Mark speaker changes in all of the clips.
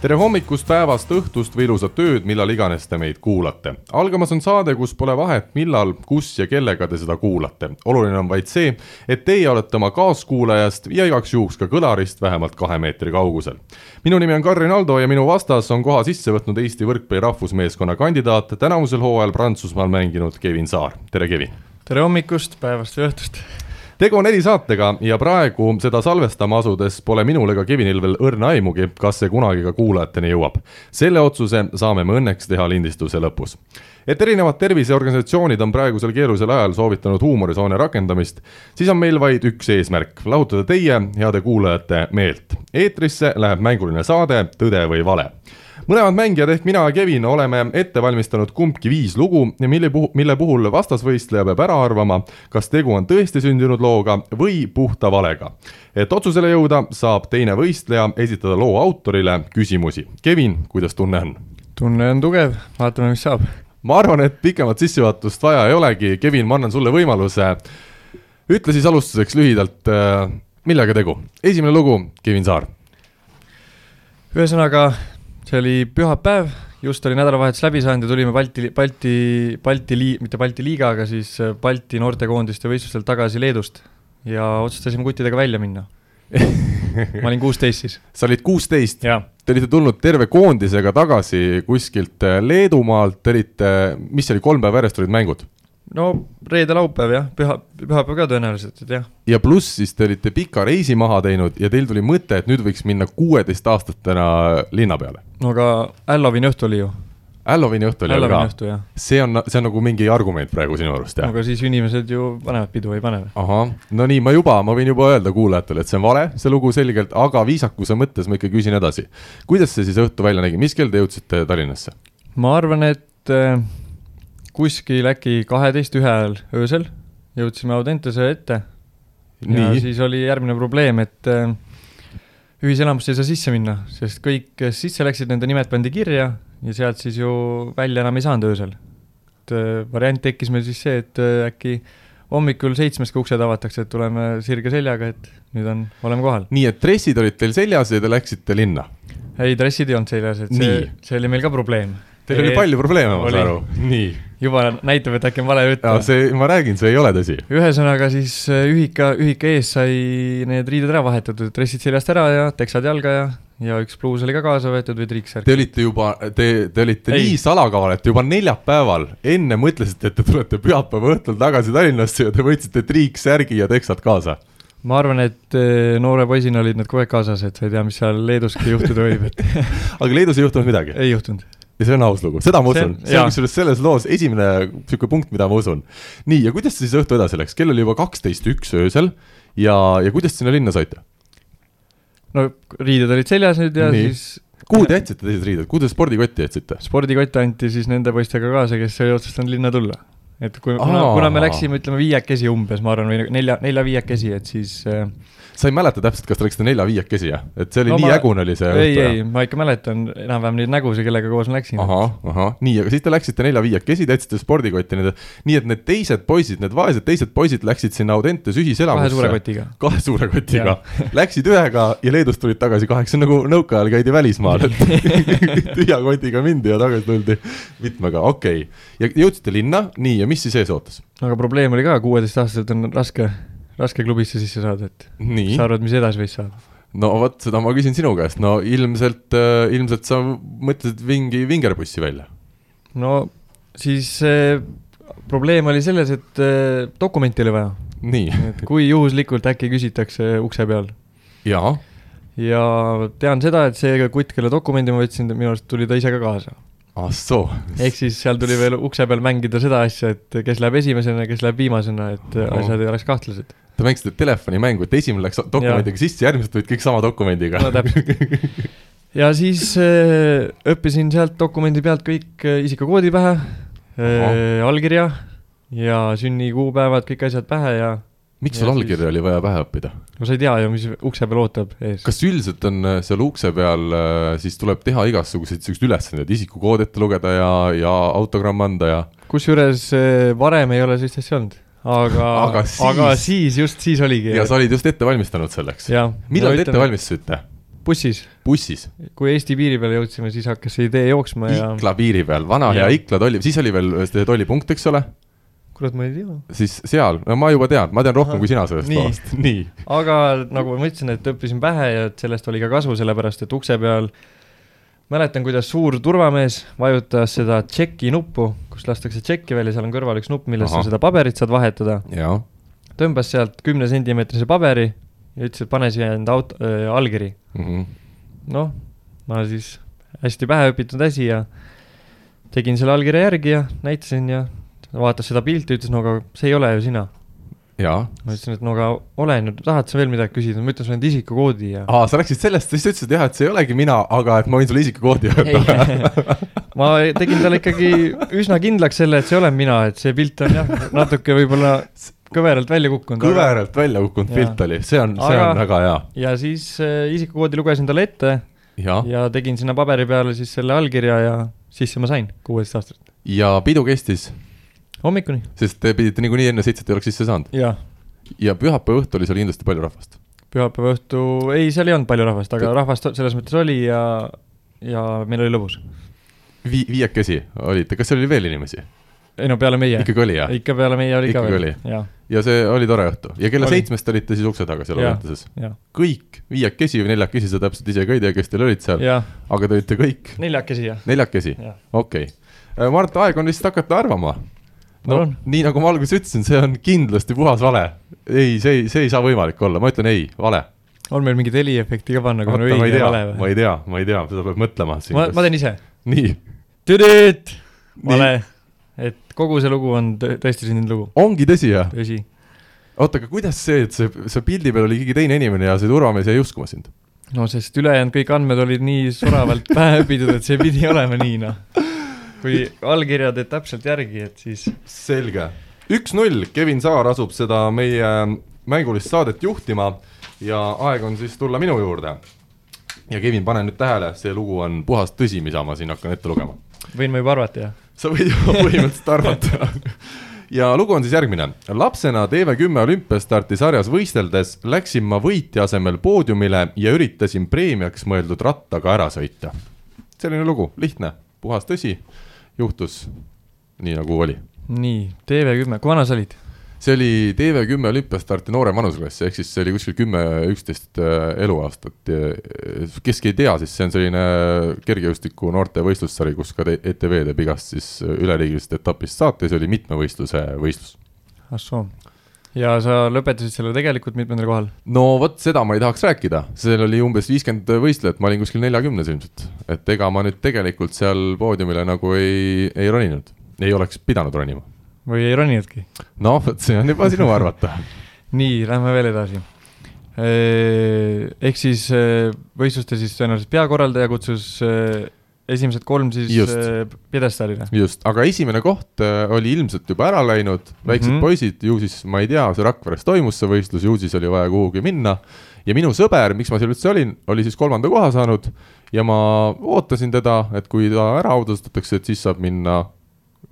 Speaker 1: tere hommikust, päevast, õhtust või ilusat ööd, millal iganes te meid kuulate. algamas on saade, kus pole vahet, millal, kus ja kellega te seda kuulate. oluline on vaid see, et teie olete oma kaaskuulajast ja igaks juhuks ka kõlarist vähemalt kahe meetri kaugusel. minu nimi on Karin Aldo ja minu vastas on koha sisse võtnud Eesti võrkpalli rahvusmeeskonna kandidaat, tänavusel hooajal Prantsusmaal mänginud Kevin Saar. tere, Kevin!
Speaker 2: tere hommikust, päevast või õhtust.
Speaker 1: tegu on erisaatega ja praegu seda salvestama asudes pole minul ega Kevinil veel õrna aimugi, kas see kunagi ka kuulajateni jõuab. selle otsuse saame me õnneks teha lindistuse lõpus. et erinevad terviseorganisatsioonid on praegusel keerulisel ajal soovitanud huumorisoone rakendamist, siis on meil vaid üks eesmärk, lahutada teie, heade kuulajate meelt. eetrisse läheb mänguline saade Tõde või vale mõlemad mängijad ehk mina ja Kevin oleme ette valmistanud kumbki viis lugu, mille puhul, mille puhul vastasvõistleja peab ära arvama, kas tegu on tõesti sündinud looga või puhta valega. et otsusele jõuda, saab teine võistleja esitada loo autorile küsimusi. Kevin, kuidas tunne on?
Speaker 2: tunne on tugev, vaatame, mis saab.
Speaker 1: ma arvan, et pikemat sissejuhatust vaja ei olegi, Kevin, ma annan sulle võimaluse. ütle siis alustuseks lühidalt, äh, millega tegu. esimene lugu, Kevin Saar.
Speaker 2: ühesõnaga, see oli pühapäev, just oli nädalavahetus läbi saanud ja tulime Balti, Balti, Balti lii-, mitte Balti liiga, aga siis äh, Balti noortekoondiste võistlustelt tagasi Leedust. ja otsustasime kuttidega välja minna ma olin kuusteist siis.
Speaker 1: sa olid kuusteist? Te olite
Speaker 2: olite
Speaker 1: tulnud terve koondisega tagasi kuskilt äh, Leedumaalt, te olite, mis see oli, kolm päeva järjest olid mängud?
Speaker 2: no reede-laupäev jah, püha, pühapäev ka tõenäoliselt, et jah.
Speaker 1: ja pluss siis te olite pika reisi maha teinud ja teil tuli mõte, et nüüd võiks minna kuueteistaastastena linna peale.
Speaker 2: no aga Allovini õhtu oli ju.
Speaker 1: Halloweeni õhtu oli ju
Speaker 2: Halloweeni õhtu
Speaker 1: ka ,
Speaker 2: jah.
Speaker 1: see on , see on nagu mingi argument praegu sinu arust jah ?
Speaker 2: aga siis inimesed ju panevad pidu või ei pane või?
Speaker 1: ahah , no nii , ma juba , ma võin juba öelda kuulajatele , et see on vale , see lugu selgelt , aga viisakuse mõttes ma ikka küsin edasi . kuidas see siis õhtu välja nägi , mis kell te jõudsite Tallinnasse ?
Speaker 2: ma arvan , et äh, kuskil äkki kaheteist ühe ajal öösel jõudsime Audentese ette ja
Speaker 1: nii ,
Speaker 2: siis oli järgmine probleem , et äh, ühiselamusse ei saa sisse minna , sest kõik , kes sisse läksid , nende nimed pandi kirja ja sealt siis ju välja enam ei saanud öösel . et äh, variant tekkis meil siis see , et äh, äkki hommikul seitsmest , kui uksed avatakse , et tuleme sirge seljaga , et nüüd on , oleme kohal .
Speaker 1: nii et dressid olid teil seljas ja te läksite linna
Speaker 2: ei , dressid ei olnud seljas , et see
Speaker 1: Nii. ,
Speaker 2: see oli meil ka probleem .
Speaker 1: Teil oli palju probleeme , ma
Speaker 2: Eh, oli.
Speaker 1: saan aru . nii .
Speaker 2: juba näitab , et äkki on vale jutt
Speaker 1: jaa ,. see , ma räägin , see ei ole tõsi .
Speaker 2: ühesõnaga siis äh, ühika , ühika ees sai need riided ära vahetatud , dressid seljast ära ja teksad jalga ja , ja üks pluus oli ka kaasa võetud või triiksärk
Speaker 1: Te . olite juba , te , te olite ei.
Speaker 2: Ei.
Speaker 1: nii salakaval , et juba neljapäeval enne mõtlesite , et te tulete pühapäeva õhtul tagasi Tallinnasse ja te võtsite triiksärgi ja teksad kaasa .
Speaker 2: ma arvan , et äh, noore poisina olid nad kogu aeg kaasas , et sa ei tea , mis seal Leeduski juhtuda võib , et
Speaker 1: aga Leedus ei juhtunud midagi
Speaker 2: ei juhtunud .
Speaker 1: ja see on aus lugu , seda ma
Speaker 2: See-
Speaker 1: usun , see
Speaker 2: jaa.
Speaker 1: on kusjuures selles loos esimene niisugune punkt , mida ma usun . nii , ja kuidas siis õhtu edasi läks , kell oli juba kaksteist üks öösel ja , ja kuidas sinna linna saite ?
Speaker 2: no riided olid seljas nüüd ja
Speaker 1: Nii.
Speaker 2: Nii. siis
Speaker 1: kuhu te jätsite teised riided , kuhu te spordikotti jätsite ?
Speaker 2: spordikott anti siis nende poistega kaasa , kes ei otsustanud linna tulla . et kui , kuna,
Speaker 1: Aa.
Speaker 2: kuna me läksime , ütleme viiekesi umbes , ma arvan , või nagu nelja , nelja-viiekesi , et siis äh,
Speaker 1: sa ei mäleta täpselt , kas te läksite nelja-viiekesi , jah ? et see oli
Speaker 2: No
Speaker 1: no, nii
Speaker 2: ma-
Speaker 1: ma... ägune oli see
Speaker 2: ei ,
Speaker 1: õhtu , jah ?
Speaker 2: ei , ma ikka mäletan enam-vähem neid nägusid , kellega koos ma läksin .
Speaker 1: ahah , ahah , nii , aga siis te läksite nelja-viiekesi , täitsite spordikotti nende , nii et need teised poisid , need vaesed teised poisid läksid sinna Audentes
Speaker 2: kahe suure
Speaker 1: ühiselamusse .
Speaker 2: kotiga .
Speaker 1: kahe suure kotiga , läksid ühega ja Leedust tulid tagasi kaheksa , nagu nõukaajal käidi välismaal , et tühja kotiga mindi ja tagasi tuldi mitmega , okei okay. . ja jõudsite linna , nii , ja mis siis ees ootas ?
Speaker 2: aga probleem oli ka , kuueteistaastaselt on raske , raske klubisse sisse saada , et mis
Speaker 1: nii
Speaker 2: sa , arvad , mis edasi võis saada ?
Speaker 1: no vot , seda ma küsin sinu käest , no ilmselt , ilmselt sa mõtlesid vingi , vingerpussi välja .
Speaker 2: no siis eh, probleem oli selles , et eh, dokumenti oli vaja ,
Speaker 1: nii ,
Speaker 2: et kui juhuslikult äkki küsitakse ukse peal
Speaker 1: jaa
Speaker 2: ja tean seda , et see kutt , kelle dokumendi ma võtsin , minu arust tuli ta ise ka kaasa .
Speaker 1: ah soo ,
Speaker 2: ehk siis seal tuli veel ukse peal mängida seda asja , et kes läheb esimesena , kes läheb viimasena , et eh,
Speaker 1: Oh.
Speaker 2: asjad ei oleks kahtlased .
Speaker 1: te mängisite telefonimängu , et esimene läks dokumendiga sisse , järgmised tulid kõik sama dokumendiga
Speaker 2: no . täpselt . ja siis äh, õppisin sealt dokumendi pealt kõik äh, isikukoodi pähe äh, , allkirja ja sünnikuupäevad , kõik asjad pähe ja
Speaker 1: miks
Speaker 2: ja
Speaker 1: sul
Speaker 2: siis-
Speaker 1: allkirja oli vaja pähe õppida ?
Speaker 2: no sa ei tea ju , mis ukse peal ootab ees .
Speaker 1: kas üldiselt on äh, seal ukse peal äh, siis tuleb teha igasuguseid siukseid ülesandeid , isikukood ette lugeda ja , ja autogramm anda ja
Speaker 2: kusjuures äh, varem ei ole sellist asja olnud , aga
Speaker 1: Aga
Speaker 2: aga
Speaker 1: siis-
Speaker 2: siis just siis oligi .
Speaker 1: ja sa olid just ette valmistanud selleks ?
Speaker 2: jah ,
Speaker 1: millal te ette ? valmistusite ?
Speaker 2: bussis ,
Speaker 1: bussis ,
Speaker 2: kui Eesti piiri peale jõudsime , siis hakkas see idee jooksma ja
Speaker 1: Ikla piiri peal , vana hea
Speaker 2: Jah.
Speaker 1: Ikla tolli , siis oli veel äh, see tollipunkt , eks ole ,
Speaker 2: kurat , ma ei tea .
Speaker 1: siis seal , no ma juba tean , ma tean rohkem
Speaker 2: Ahah.
Speaker 1: kui sina sellest
Speaker 2: Nii.
Speaker 1: kohast , nii .
Speaker 2: aga nagu ma ütlesin , et õppisin pähe ja et sellest oli ka kasu , sellepärast et ukse peal mäletan , kuidas suur turvamees vajutas seda tšeki nuppu , kus lastakse tšekki välja , seal on kõrval üks nupp , milles sa
Speaker 1: Ahah.
Speaker 2: seda paberit saad vahetada .
Speaker 1: jaa ,
Speaker 2: tõmbas sealt kümne sentimeetrise paberi ja ütles , et pane siia enda aut- , allkiri .
Speaker 1: mhm.
Speaker 2: noh , ma siis hästi pähe õpitud asi ja tegin selle allkirja järgi ja näitasin ja ta vaatas seda pilti , ütles no aga see ei ole ju sina .
Speaker 1: jaa .
Speaker 2: ma ütlesin , et no aga olen , tahad sa veel midagi küsida , ma ütlen sulle enda isikukoodi ja
Speaker 1: aa , sa läksid sellest , siis sa ütlesid jah , et see ei olegi mina , aga et ma võin sulle isikukoodi öelda .
Speaker 2: ma tegin talle ikkagi üsna kindlaks selle , et see olen mina , et see pilt on jah , natuke võib-olla kõveralt välja kukkunud .
Speaker 1: kõveralt välja kukkunud
Speaker 2: Jaa.
Speaker 1: pilt oli , see on , see on
Speaker 2: Aga-
Speaker 1: väga hea .
Speaker 2: ja siis äh, isikukoodi lugesin talle ette
Speaker 1: jaa ,
Speaker 2: ja tegin sinna paberi peale siis selle allkirja ja sisse ma sain , kuueteist aastaselt .
Speaker 1: ja pidu kestis ,
Speaker 2: hommikuni .
Speaker 1: sest te pidite niikuinii enne seitset ei oleks sisse saanud
Speaker 2: jaa
Speaker 1: ja pühapäeva õhtul oli seal kindlasti palju rahvast .
Speaker 2: pühapäeva õhtu , ei , seal ei olnud palju rahvast , aga rahvast selles mõttes oli ja , ja meil oli lõbus .
Speaker 1: Vii- , viiekesi olite , kas seal oli veel inimesi ?
Speaker 2: ei no peale meie ,
Speaker 1: ikkagi oli jah ?
Speaker 2: ikka peale meie oli
Speaker 1: Ikkagi
Speaker 2: ka
Speaker 1: oli.
Speaker 2: veel , jaa ,
Speaker 1: ja see oli tore õhtu ja kella
Speaker 2: Oli.
Speaker 1: seitsmest olite siis ukse taga seal
Speaker 2: Jaa.
Speaker 1: oletuses .
Speaker 2: jaa ,
Speaker 1: kõik viiekesi või neljakesi , sa täpselt ise ka ei tea , kes teil olid seal ,
Speaker 2: jaa ,
Speaker 1: aga te olite kõik
Speaker 2: neljakesi ja ,
Speaker 1: neljakesi ,
Speaker 2: jaa .
Speaker 1: okei okay. . Mart , aeg on vist hakata arvama . no
Speaker 2: Palun.
Speaker 1: nii nagu ma alguses ütlesin , see on kindlasti puhas vale . ei , see ei , see ei saa võimalik olla , ma ütlen ei , vale .
Speaker 2: on meil mingit heliefekti ka panna , kui Nagu on
Speaker 1: ma ei
Speaker 2: õige ja
Speaker 1: tea
Speaker 2: vale ,
Speaker 1: ma
Speaker 2: või ?
Speaker 1: ei tea , ma ei tea , seda peab mõtlema siin .
Speaker 2: ma , ma teen ise .
Speaker 1: nii ,
Speaker 2: tüdüüt ,
Speaker 1: Nii.
Speaker 2: vale . et kogu see lugu on tõ- tõesti sündinud lugu ,
Speaker 1: ongi tõsi jah ?
Speaker 2: tõsi .
Speaker 1: oota , aga kuidas see , et see , see pildi peal oli keegi teine inimene ja see turvamees jäi uskuma sind ?
Speaker 2: no sest ülejäänud kõik andmed olid nii soravalt pähe õpitud , et see pidi olema nii , noh . kui allkirja teed täpselt järgi , et siis
Speaker 1: selge , üks-null , Kevin Saar asub seda meie mängulist saadet juhtima ja aeg on siis tulla minu juurde . ja Kevin , pane nüüd tähele , see lugu on puhas tõsi , mida ma siin hakkan ette lugema .
Speaker 2: võin ma juba arvata , jah ?
Speaker 1: sa võid ju põhimõtteliselt arvata . ja lugu on siis järgmine . lapsena TV10 olümpiastartisarjas võisteldes läksin ma võitja asemel poodiumile ja üritasin preemiaks mõeldud rattaga ära sõita . selline lugu , lihtne , puhas tõsi , juhtus nii nagu oli
Speaker 2: nii , TV10 , kui vana sa olid ?
Speaker 1: see oli TV10 olümpiastarti noorem vanuseklass , ehk siis see oli kuskil kümme , üksteist äh, eluaastat . kes ei tea , siis see on selline äh, kergejõustiku noorte võistlussari , kus ka te- ETV teeb igast siis üleriigilisest etapist saates , oli mitmevõistluse võistlus .
Speaker 2: ah soo . ja sa lõpetasid selle tegelikult mitmendal kohal ?
Speaker 1: no vot seda ma ei tahaks rääkida , seal oli umbes viiskümmend võistlejat , ma olin kuskil neljakümnes ilmselt , et ega ma nüüd tegelikult seal poodiumile nagu ei , ei roninud , ei oleks pidanud ronima .
Speaker 2: või ei roninudki ?
Speaker 1: noh , vot see on juba sinu arvata .
Speaker 2: nii , lähme veel edasi . Ehk siis eh, võistluste siis tõenäoliselt peakorraldaja kutsus eh, esimesed kolm siis
Speaker 1: Just.
Speaker 2: eh, pjedestaalile .
Speaker 1: just , aga esimene koht äh, oli ilmselt juba ära läinud , väiksed mm -hmm.
Speaker 2: Mhm.
Speaker 1: poisid , ju siis ma ei tea , see Rakveres toimus see võistlus , ju siis oli vaja kuhugi minna . ja minu sõber , miks ma seal üldse olin , oli siis kolmanda koha saanud ja ma ootasin teda , et kui ta ära audustatakse , et siis saab minna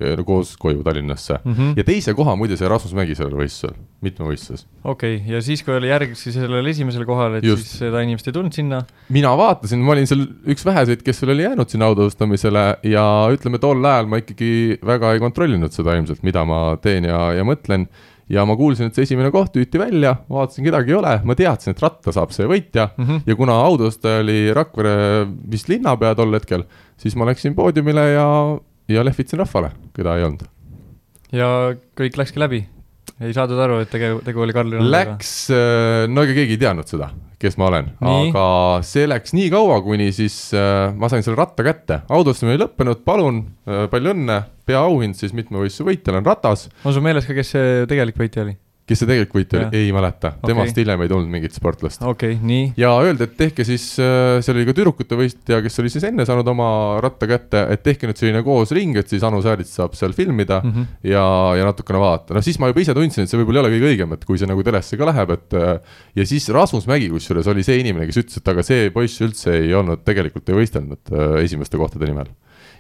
Speaker 1: eh, koos koju Tallinnasse
Speaker 2: Mhm.
Speaker 1: mm . -hmm. ja teise koha muide sai Rasmus Mägi sellel võistlusel , mitmevõistluses .
Speaker 2: okei , ja siis , kui oli järg siis sellel esimesel kohal , et
Speaker 1: Just.
Speaker 2: Just. siis seda inimest ei tulnud sinna ,
Speaker 1: mina vaatasin , ma olin seal üks väheseid , kes veel oli jäänud sinna autostamisele ja ütleme , tol ajal ma ikkagi väga ei kontrollinud seda ilmselt , mida ma teen ja , ja mõtlen . ja ma kuulsin , et see esimene koht hüüti välja , vaatasin , kedagi ei ole , ma teadsin , et ratta saab see võitja mm .
Speaker 2: Mhm.
Speaker 1: -hmm. ja kuna autostaja oli Rakvere vist linnapea tol hetkel , siis ma läksin poodiumile ja , ja lehvitasin rahvale , keda ei olnud .
Speaker 2: ja kõik läkski läbi . ei saadud aru , et tege- , tegu oli Karl Jürgendaga .
Speaker 1: Läks , no ega keegi ei teadnud seda , kes ma olen ,
Speaker 2: Nii.
Speaker 1: aga see läks nii kaua , kuni siis äh, ma sain selle ratta kätte . autostumine ei lõppenud , palun , palju õnne , peaauhind siis mitmevõistluse võitjal on ratas ,
Speaker 2: on sul meeles ka , kes see tegelik võitja oli ?
Speaker 1: kes see tegelik võitja
Speaker 2: Jah.
Speaker 1: oli , ei mäleta ,
Speaker 2: Okei.
Speaker 1: temast hiljem ei tulnud mingit sportlast .
Speaker 2: okei okay, , nii ,
Speaker 1: ja öeldi , et tehke siis , seal oli ka tüdrukute võistleja , kes oli siis enne saanud oma ratta kätte , et tehke nüüd selline koos ring , et siis Anu Säärits saab seal filmida mm
Speaker 2: Mhm.
Speaker 1: -hmm. ja , ja natukene vaadata , noh siis ma juba ise tundsin , et see võib-olla ei ole kõige õigem , et kui see nagu telesse ka läheb , et äh, ja siis Rasmus Mägi kusjuures oli see inimene , kes ütles , et aga see poiss üldse ei olnud , tegelikult ei võistelnud äh, esimeste kohtade nimel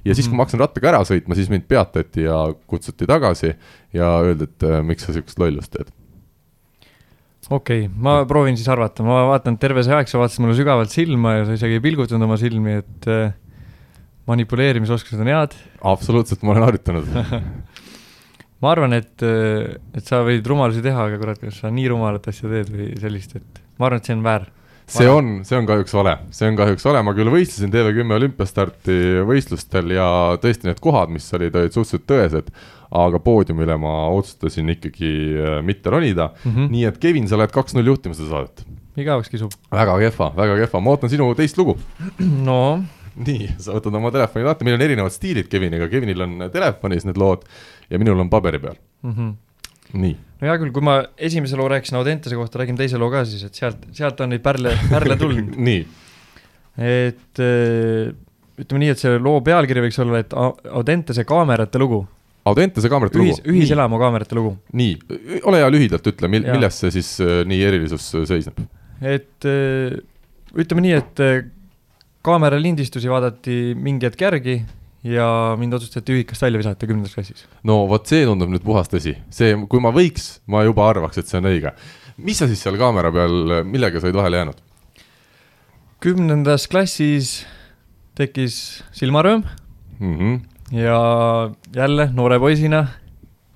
Speaker 1: ja siis , kui ma hakkasin rattaga ära sõitma , siis mind peatati ja kutsuti tagasi ja öeldi , et äh, miks sa sihukest lollust teed .
Speaker 2: okei okay, , ma proovin siis arvata , ma vaatan , terve see aeg sa vaatasid mulle sügavalt silma ja sa isegi ei pilgutanud oma silmi , et äh, manipuleerimisoskused on head .
Speaker 1: absoluutselt , ma olen harjutanud .
Speaker 2: ma arvan , et , et sa võid rumalusi teha , aga kurat , kas sa nii rumalat asja teed või sellist , et ma arvan , et see on väär .
Speaker 1: see on , see on kahjuks vale , see on kahjuks vale , ma küll võistlesin TV10 olümpiastarti võistlustel ja tõesti need kohad , mis olid , olid suhteliselt tõesed , aga poodiumile ma otsustasin ikkagi äh, mitte ronida mm .
Speaker 2: Mhm.
Speaker 1: -hmm. nii et Kevin , sa lähed kaks-null juhtima seda saadet .
Speaker 2: igavaks kisub .
Speaker 1: väga kehva , väga kehva , ma ootan sinu teist lugu .
Speaker 2: no
Speaker 1: nii , sa võtad oma telefoni lahti , meil on erinevad stiilid Keviniga , Kevinil on telefonis need lood ja minul on paberi peal ,
Speaker 2: mm , -hmm.
Speaker 1: nii .
Speaker 2: no hea küll , kui ma esimese loo rääkisin Audentese kohta , räägin teise loo ka siis , et sealt , sealt on neid pärle , pärle tulnud .
Speaker 1: nii ,
Speaker 2: et äh, ütleme nii , et see loo pealkiri võiks olla , et A- Audentese kaamerate lugu ,
Speaker 1: Audentese kaamerate
Speaker 2: ühis ,
Speaker 1: lugu .
Speaker 2: ühiselamu kaamerate lugu .
Speaker 1: nii , ole hea , lühidalt ütle , mil- ,
Speaker 2: Jaa.
Speaker 1: milles see siis äh, nii erilisus äh, seisneb ?
Speaker 2: et äh, ütleme nii , et äh, kaamera lindistusi vaadati mingi hetk järgi ja mind otsustati ühikast välja visata kümnendas klassis .
Speaker 1: no vot , see tundub nüüd puhas tõsi , see , kui ma võiks , ma juba arvaks , et see on õige . mis sa siis seal kaamera peal , millega sa olid vahele jäänud ?
Speaker 2: kümnendas klassis tekkis silmarõõm
Speaker 1: Mm -hmm.
Speaker 2: ja jälle noore poisina ,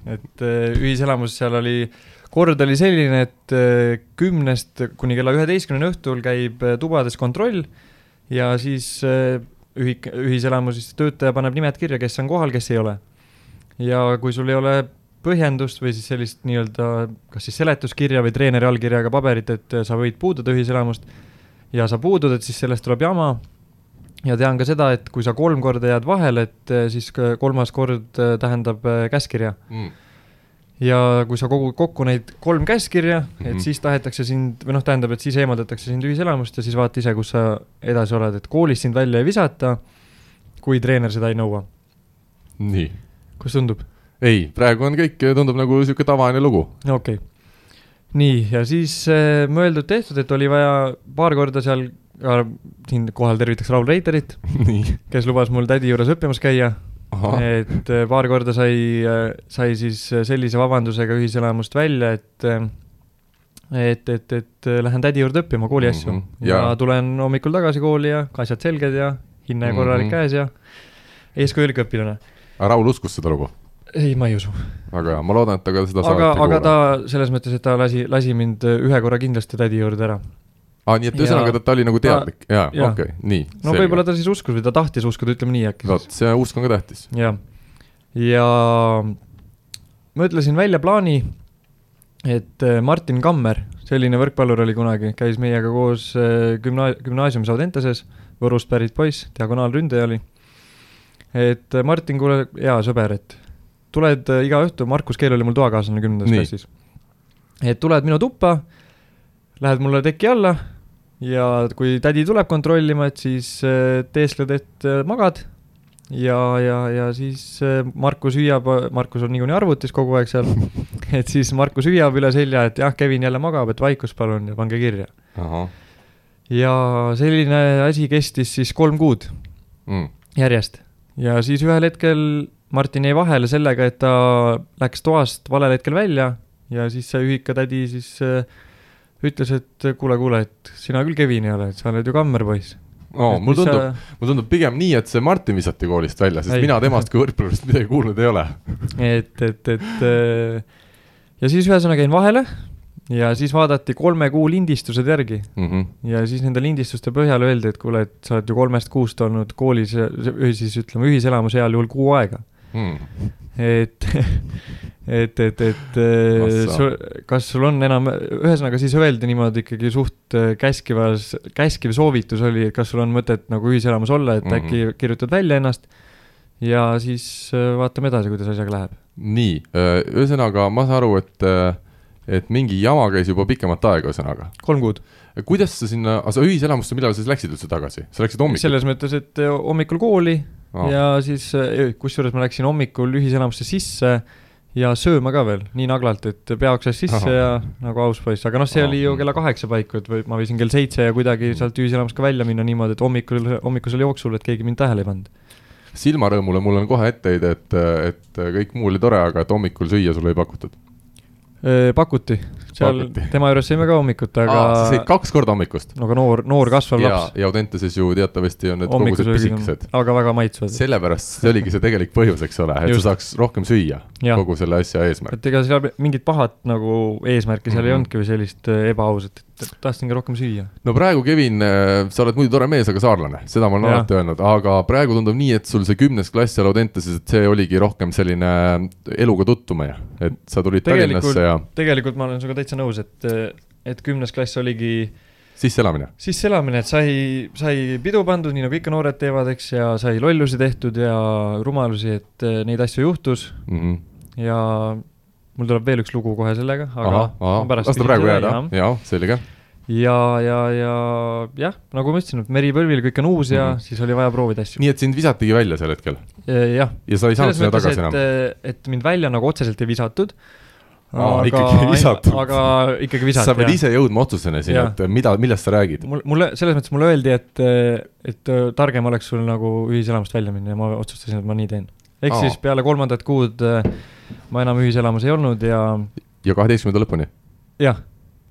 Speaker 2: et äh, ühiselamus seal oli , kord oli selline , et äh, kümnest kuni kella üheteistkümneni õhtul käib äh, tubades kontroll ja siis äh, ühik- , ühiselamus , siis töötaja paneb nimed kirja , kes on kohal , kes ei ole . ja kui sul ei ole põhjendust või siis sellist nii-öelda kas siis seletuskirja või treeneri allkirjaga paberit , et äh, sa võid puududa ühiselamust ja sa puudud , et siis sellest tuleb jama ja tean ka seda , et kui sa kolm korda jääd vahele , et eh, siis ka kolmas kord eh, tähendab eh, käskkirja .
Speaker 1: Mm.
Speaker 2: ja kui sa kogud kokku neid kolm käskkirja , et
Speaker 1: Mhm.
Speaker 2: siis tahetakse sind või noh , tähendab , et siis eemaldatakse sind ühiselamust ja siis vaata ise , kus sa edasi oled , et koolis sind välja ei visata , kui treener seda ei nõua .
Speaker 1: nii ,
Speaker 2: kuidas tundub ?
Speaker 1: ei , praegu on kõik , tundub nagu sihuke tavaline lugu .
Speaker 2: no okei okay. . nii , ja siis eh, mõeldud-tehtud , et oli vaja paar korda seal , siinkohal tervitaks Raul Reiterit ,
Speaker 1: nii ,
Speaker 2: kes lubas mul tädi juures õppimas käia
Speaker 1: ahah ,
Speaker 2: et äh, paar korda sai , sai siis äh, sellise vabandusega ühiselamust välja , et äh, et , et , et äh, lähen tädi juurde õppima kooli asju mm
Speaker 1: Mhm,
Speaker 2: -hmm. ja
Speaker 1: jaa.
Speaker 2: tulen hommikul tagasi kooli ja asjad selged ja hinne
Speaker 1: Mhm.
Speaker 2: korralik mm -hmm. käes ja eeskujulik õpilane .
Speaker 1: Raul uskus seda lugu ,
Speaker 2: ei , ma ei usu ,
Speaker 1: väga hea , ma loodan , et ta ka seda
Speaker 2: aga ,
Speaker 1: saadet ei
Speaker 2: aga
Speaker 1: kuule
Speaker 2: ta . selles mõttes , et ta lasi , lasi mind äh, ühe korra kindlasti tädi juurde ära .
Speaker 1: aa , nii et
Speaker 2: jaa.
Speaker 1: ühesõnaga ta, ta oli nagu teadlik , jaa ,
Speaker 2: jaa.
Speaker 1: okei , nii .
Speaker 2: no võib-olla . ta siis uskus või ta tahtis uskuda , ütleme nii äkki siis
Speaker 1: vot , see usk on ka tähtis .
Speaker 2: jah , ja mõtlesin välja plaani , et äh, Martin Kammer , selline võrkpallur oli kunagi , käis meiega koos äh, gümna- , gümnaasiumis Audenteses , Võrust pärit poiss , diagonaalründaja oli . et äh, Martin , kuule , hea sõber , et tuled äh, iga õhtu , Markus Keel oli mul toakaaslane kümnendas
Speaker 1: Nii.
Speaker 2: klassis . et tuled minu tuppa , lähed mulle teki alla ja kui tädi tuleb kontrollima , et siis äh, teeskled , et äh, magad ja , ja , ja siis äh, Markus hüüab , Markus on niikuinii arvutis kogu aeg seal , et siis Markus hüüab üle selja , et jah , Kevin jälle magab , et vaikust palun ja pange kirja .
Speaker 1: ahah
Speaker 2: ja selline asi kestis siis kolm kuud
Speaker 1: mm. ,
Speaker 2: järjest ja siis ühel hetkel Martin jäi vahele sellega , et ta läks toast valel hetkel välja ja siis see ühikatädi siis äh, ütles , et kuule , kuule , et sina küll Kevin ei ole , et sa oled ju kammerpoiss .
Speaker 1: no mulle tundub , mulle tundub pigem nii , et see Martin visati koolist välja , sest
Speaker 2: Ei.
Speaker 1: ei. mina temast kui võrkpallurist midagi kuulnud ei ole .
Speaker 2: et , et , et äh, ja siis ühesõnaga jäin vahele ja siis vaadati kolme kuu lindistused järgi
Speaker 1: Mm -hmm.
Speaker 2: ja siis nende lindistuste põhjal öeldi , et kuule , et sa oled ju kolmest kuust olnud koolis , siis ütleme ühiselamus heal juhul kuu aega .
Speaker 1: mm.
Speaker 2: et , et , et , et äh,
Speaker 1: Massa.
Speaker 2: sul, kas sul on enam , ühesõnaga siis öeldi niimoodi ikkagi suht äh, käskivas , käskiv soovitus oli , et kas sul on mõtet nagu ühiselamus olla , et mm
Speaker 1: Mhm.
Speaker 2: -hmm. äkki kirjutad välja ennast ja siis äh, vaatame edasi , kuidas asjaga läheb .
Speaker 1: nii , ühesõnaga ma saan aru , et , et mingi jama käis juba pikemat aega , ühesõnaga .
Speaker 2: kolm kuud .
Speaker 1: kuidas sa sinna , aga sa ühiselamusse , millal sa siis läksid üldse tagasi , sa läksid hommikul ?
Speaker 2: selles mõttes , et äh, hommikul kooli
Speaker 1: Aa.
Speaker 2: oh. ja siis , kusjuures ma läksin hommikul ühiselamusse sisse ja sööma ka veel nii naglalt , et pea oksas sisse
Speaker 1: Ahah.
Speaker 2: Aha. ja nagu aus poiss , aga noh , see
Speaker 1: Aa.
Speaker 2: oli ju kella kaheksa paiku , et või ma võisin kell seitse ja kuidagi
Speaker 1: Mm.
Speaker 2: sealt ühiselamust ka välja minna niimoodi , et hommikul , hommikusel jooksul , et keegi mind tähele ei pannud .
Speaker 1: silmarõõmule mul on kohe etteheide , et , et kõik muu oli tore , aga et hommikul süüa sulle ei pakutud .
Speaker 2: Eh, pakuti , seal
Speaker 1: Pakuti.
Speaker 2: pakuti. tema juures sõime ka hommikut , aga
Speaker 1: aa , sa sõid kaks korda hommikust ?
Speaker 2: no aga noor , noor kasvav
Speaker 1: ja
Speaker 2: laps ,.
Speaker 1: ja Audentases ju teatavasti on need kogused
Speaker 2: hommikusöögid on
Speaker 1: pisikesed .
Speaker 2: aga väga maitsvad See... .
Speaker 1: sellepärast see oligi see tegelik põhjus , eks ole , et
Speaker 2: Just.
Speaker 1: sa saaks rohkem süüa ,
Speaker 2: Jah.
Speaker 1: kogu selle asja eesmärk .
Speaker 2: et ega seal mingit pahat nagu eesmärki seal
Speaker 1: Mhm.
Speaker 2: mm -hmm. ei olnudki või sellist eh, ebaausat , et tahtsingi rohkem süüa .
Speaker 1: no praegu , Kevin , sa oled muidu tore mees , aga saarlane , seda ma olen
Speaker 2: Jah.
Speaker 1: alati öelnud , aga praegu tundub nii , et sul see kümnes klass seal Audentases , et see oligi rohkem selline eluga tutvumine , et sa tulid
Speaker 2: Tegelikult-
Speaker 1: Tallinnasse ja
Speaker 2: tegelikult ma olen sinuga täitsa nõus , et , et kümnes klass oligi
Speaker 1: sisseelamine .
Speaker 2: sisseelamine , et sai , sai pidu pandud , nii nagu ikka noored teevad , eks , ja sai lollusi tehtud ja rumalusi , et eh, neid asju juhtus
Speaker 1: Mm -hmm.
Speaker 2: ja mul tuleb veel üks lugu kohe sellega , aga
Speaker 1: ahah , ahah , las ta
Speaker 2: küsin
Speaker 1: praegu
Speaker 2: seda
Speaker 1: jääda
Speaker 2: enam. ,
Speaker 1: jaa , selge .
Speaker 2: ja , ja , ja jah , nagu ma ütlesin , et meripõlvil kõik on uus ja mm
Speaker 1: Mhm.
Speaker 2: -hmm. siis oli vaja proovida asju .
Speaker 1: nii et sind visatigi välja sel hetkel
Speaker 2: jah ,
Speaker 1: ja sa ei saanud
Speaker 2: selles
Speaker 1: sinna
Speaker 2: mõttes ,
Speaker 1: tagasi enam
Speaker 2: et ,, äh, et mind välja nagu otseselt ei visatud .
Speaker 1: Aa, ikkagi ei visatud.
Speaker 2: aga ikkagi
Speaker 1: sa
Speaker 2: visati
Speaker 1: pead , ise jõudma otsuseni siin ,
Speaker 2: Jah.
Speaker 1: et mida , millest sa räägid .
Speaker 2: mul , mulle , selles mõttes mulle öeldi , et , et äh, targem oleks sul nagu ühiselamust välja minna ja ma otsustasin , et ma nii teen . ehk
Speaker 1: Aa.
Speaker 2: siis peale kolmandat kuud äh, ma enam ühiselamus ei olnud ja
Speaker 1: ja kaheteistkümnenda lõpuni ,
Speaker 2: jah ,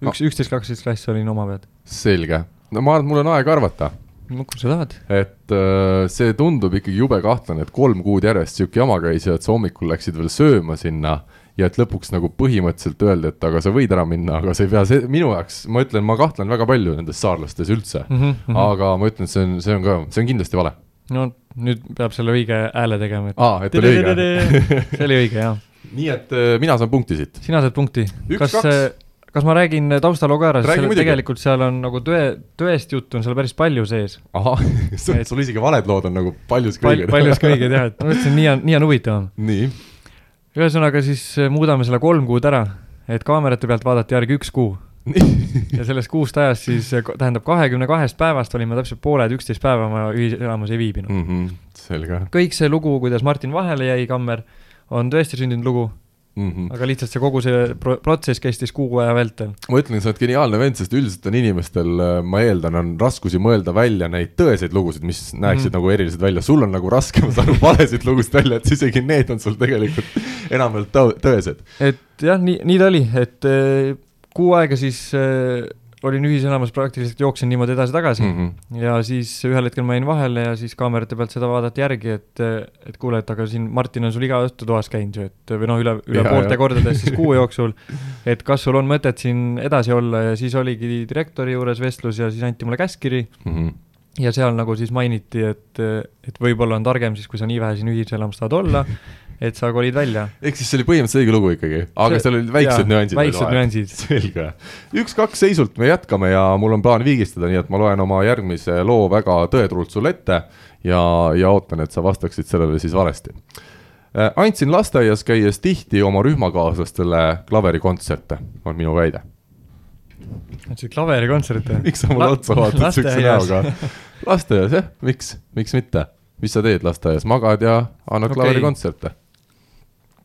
Speaker 2: üks , üksteist , kaksteist klass olin oma pead .
Speaker 1: selge . no ma arvan , et mul on aega arvata ,
Speaker 2: no kui sa tahad ,
Speaker 1: et äh, see tundub ikkagi jube kahtlane , et kolm kuud järjest sihuke jama käis ja et sa hommikul läksid veel sööma sinna ja et lõpuks nagu põhimõtteliselt öeldi , et aga sa võid ära minna , aga sa ei pea , see minu jaoks , ma ütlen , ma kahtlen väga palju nendes saarlastes üldse mm .
Speaker 2: Mhm, mhm.
Speaker 1: -hmm. aga ma ütlen , see on , see on ka , see on kindlasti vale .
Speaker 2: no nüüd peab selle õige hääle tegema , et
Speaker 1: aa , et oli õige .
Speaker 2: see oli õige jah ,
Speaker 1: nii et äh, mina saan punkti siit .
Speaker 2: sina saad punkti .
Speaker 1: Üks,
Speaker 2: kas äh,
Speaker 1: kaks. ,
Speaker 2: kas ma räägin äh, taustaloo ka ära ,
Speaker 1: Räägi
Speaker 2: sest seal-
Speaker 1: muidugi.
Speaker 2: tegelikult seal on nagu tõe , tõest juttu on seal päris palju sees .
Speaker 1: ahah , sul isegi valed lood on nagu paljuski
Speaker 2: Pal,
Speaker 1: õiged .
Speaker 2: paljus kõiged jah , et ma mõtlesin , nii on , nii on huvitavam .
Speaker 1: nii ,
Speaker 2: ühesõnaga siis eh, muudame selle kolm kuud ära , et kaamerate pealt vaadati järgi üks kuu ja sellest kuust ajast siis , tähendab kahekümne kahest päevast olime täpselt pooled , üksteist päeva ma ühiselamus ei viibinud .
Speaker 1: mm -hmm, selge
Speaker 2: kõik see lugu , kuidas Martin vahele jäi , Kammer , on tõesti sündinud lugu ,
Speaker 1: mm . -hmm.
Speaker 2: aga lihtsalt see kogu see pro- , protsess kestis kuu aja vältel .
Speaker 1: ma ütlen , sa oled geniaalne vend , sest üldiselt on inimestel , ma eeldan , on raskusi mõelda välja neid tõeseid lugusid , mis näeksid
Speaker 2: Mhm.
Speaker 1: mm. nagu erilised välja , sul on nagu raskem saada valesid lugusid välja , et isegi need on sul tegelikult enamjaolt tõ- tõesed .
Speaker 2: et jah , nii , nii ta oli , et eh, kuu aega siis eh, olin ühiselamus , praktiliselt jooksin niimoodi edasi-tagasi mm.
Speaker 1: -hmm.
Speaker 2: ja siis ühel hetkel ma jäin vahele ja siis kaamerate pealt seda vaadati järgi , et , et kuule , et aga siin Martin on sul iga õhtu toas käinud ju , et või noh , üle , üle
Speaker 1: Jaa,
Speaker 2: ja,
Speaker 1: jah.
Speaker 2: poolte kordades siis kuu jooksul , et kas sul on mõtet siin edasi olla ja siis oligi direktori juures vestlus ja siis anti mulle käskkiri
Speaker 1: Mm -hmm.
Speaker 2: ja seal nagu siis mainiti , et , et võib-olla on targem siis , kui sa nii vähe siin ühiselamus tahad olla , et sa kolid välja .
Speaker 1: ehk siis see oli põhimõtteliselt õige lugu ikkagi , aga
Speaker 2: See-
Speaker 1: seal olid väiksed nüansid .
Speaker 2: väiksed . nüansid .
Speaker 1: selge , üks-kaks seisult me jätkame ja mul on plaan viigistada , nii et ma loen oma järgmise loo väga tõetruult sulle ette ja , ja ootan , et sa vastaksid sellele siis valesti . andsin lasteaias käies tihti oma rühmakaaslastele klaverikontserti , on minu väide .
Speaker 2: see klaverikontsert või ?
Speaker 1: miks sa mulle otsa vaatad siukse näoga ? lasteaias jah , miks , miks mitte , mis sa teed lasteaias , magad ja annad
Speaker 2: Okei.
Speaker 1: okay. klaverikontserti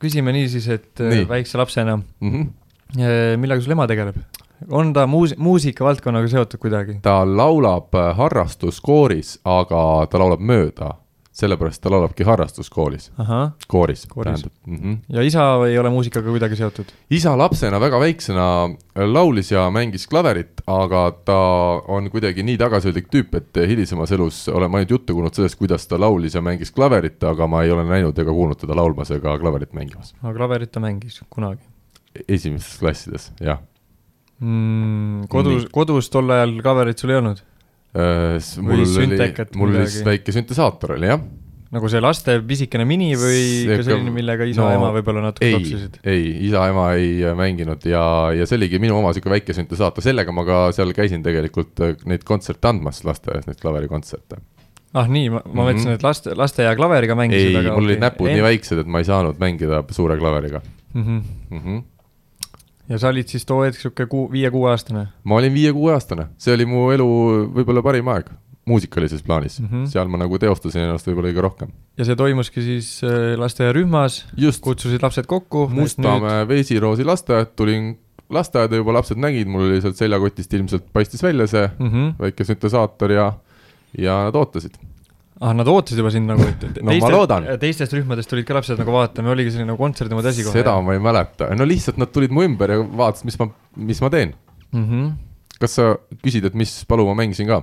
Speaker 2: küsime nii siis , et
Speaker 1: Nii.
Speaker 2: nii. väikse lapsena ,
Speaker 1: mm . -hmm.
Speaker 2: Äh, millega sul ema tegeleb ? on ta muus- , muusikavaldkonnaga seotud kuidagi ?
Speaker 1: ta laulab äh, harrastuskooris , aga ta laulab mööda , sellepärast ta laulabki harrastuskoolis ,
Speaker 2: ahah ,
Speaker 1: kooris,
Speaker 2: Kooris.
Speaker 1: tähendab mm . -hmm.
Speaker 2: ja isa ei ole muusikaga kuidagi seotud ?
Speaker 1: isa lapsena väga väiksena äh, laulis ja mängis klaverit , aga ta on kuidagi nii tagasihoidlik tüüp , et hilisemas elus olen ma ainult juttu kuulnud sellest , kuidas ta laulis ja mängis klaverit , aga ma ei ole näinud ega kuulnud teda laulmas ega klaverit mängimas .
Speaker 2: aga klaverit ta mängis kunagi
Speaker 1: esimestes klassides , jah .
Speaker 2: mm, ? kodus , kodus tol ajal klaverit sul ei olnud ? Või
Speaker 1: Äh, mul oli
Speaker 2: süntekat ,
Speaker 1: mul oli
Speaker 2: midagi.
Speaker 1: siis väike süntesaator oli jah
Speaker 2: nagu see laste pisikene mini või
Speaker 1: See
Speaker 2: ka
Speaker 1: ikka-
Speaker 2: selline , millega isa
Speaker 1: no,
Speaker 2: no, , ema võib-olla natuke
Speaker 1: ei
Speaker 2: toksisid ?,
Speaker 1: ei , isa-ema ei äh, mänginud ja , ja see oligi minu oma niisugune väike süntesaator , sellega ma ka seal käisin tegelikult äh, neid kontserte andmas lasteaias , neid klaverikontserte .
Speaker 2: ah nii , ma , ma
Speaker 1: Mhm.
Speaker 2: mõtlesin , et laste , laste ja klaveriga
Speaker 1: ei
Speaker 2: mängisid ,,
Speaker 1: mul olid näpud nii väiksed , et ma ei saanud mängida suure klaveriga
Speaker 2: mm . -hmm.
Speaker 1: mm . -hmm.
Speaker 2: ja sa olid siis too hetk sihuke kuu , viie-kuueaastane
Speaker 1: ma olin viie-kuueaastane , see oli mu elu võib-olla parim aeg muusikalises plaanis mm ,
Speaker 2: Mhm.
Speaker 1: -hmm. seal ma nagu teostasin ennast võib-olla kõige rohkem .
Speaker 2: ja see toimuski siis äh, lasteaiarühmas ,
Speaker 1: just ,
Speaker 2: kutsusid lapsed kokku .
Speaker 1: Mustamäe Veesiroosi lasteaed , tulin lasteaeda juba lapsed nägid , mul oli sealt seljakotist ilmselt paistis välja see
Speaker 2: Mm -hmm.
Speaker 1: väike süntesaator ja , ja nad ootasid .
Speaker 2: ah , nad ootasid juba sind nagu , et
Speaker 1: No ma loodan.
Speaker 2: teistest rühmadest tulid ka lapsed nagu vaatama , oligi selline kontserdimaad asi kohe .
Speaker 1: seda ma ei mäleta , no lihtsalt nad tulid mu ümber ja vaatasid , mis ma , mis ma teen .
Speaker 2: mm . -hmm.
Speaker 1: kas sa küsid , et mis palu ma mängisin ka ?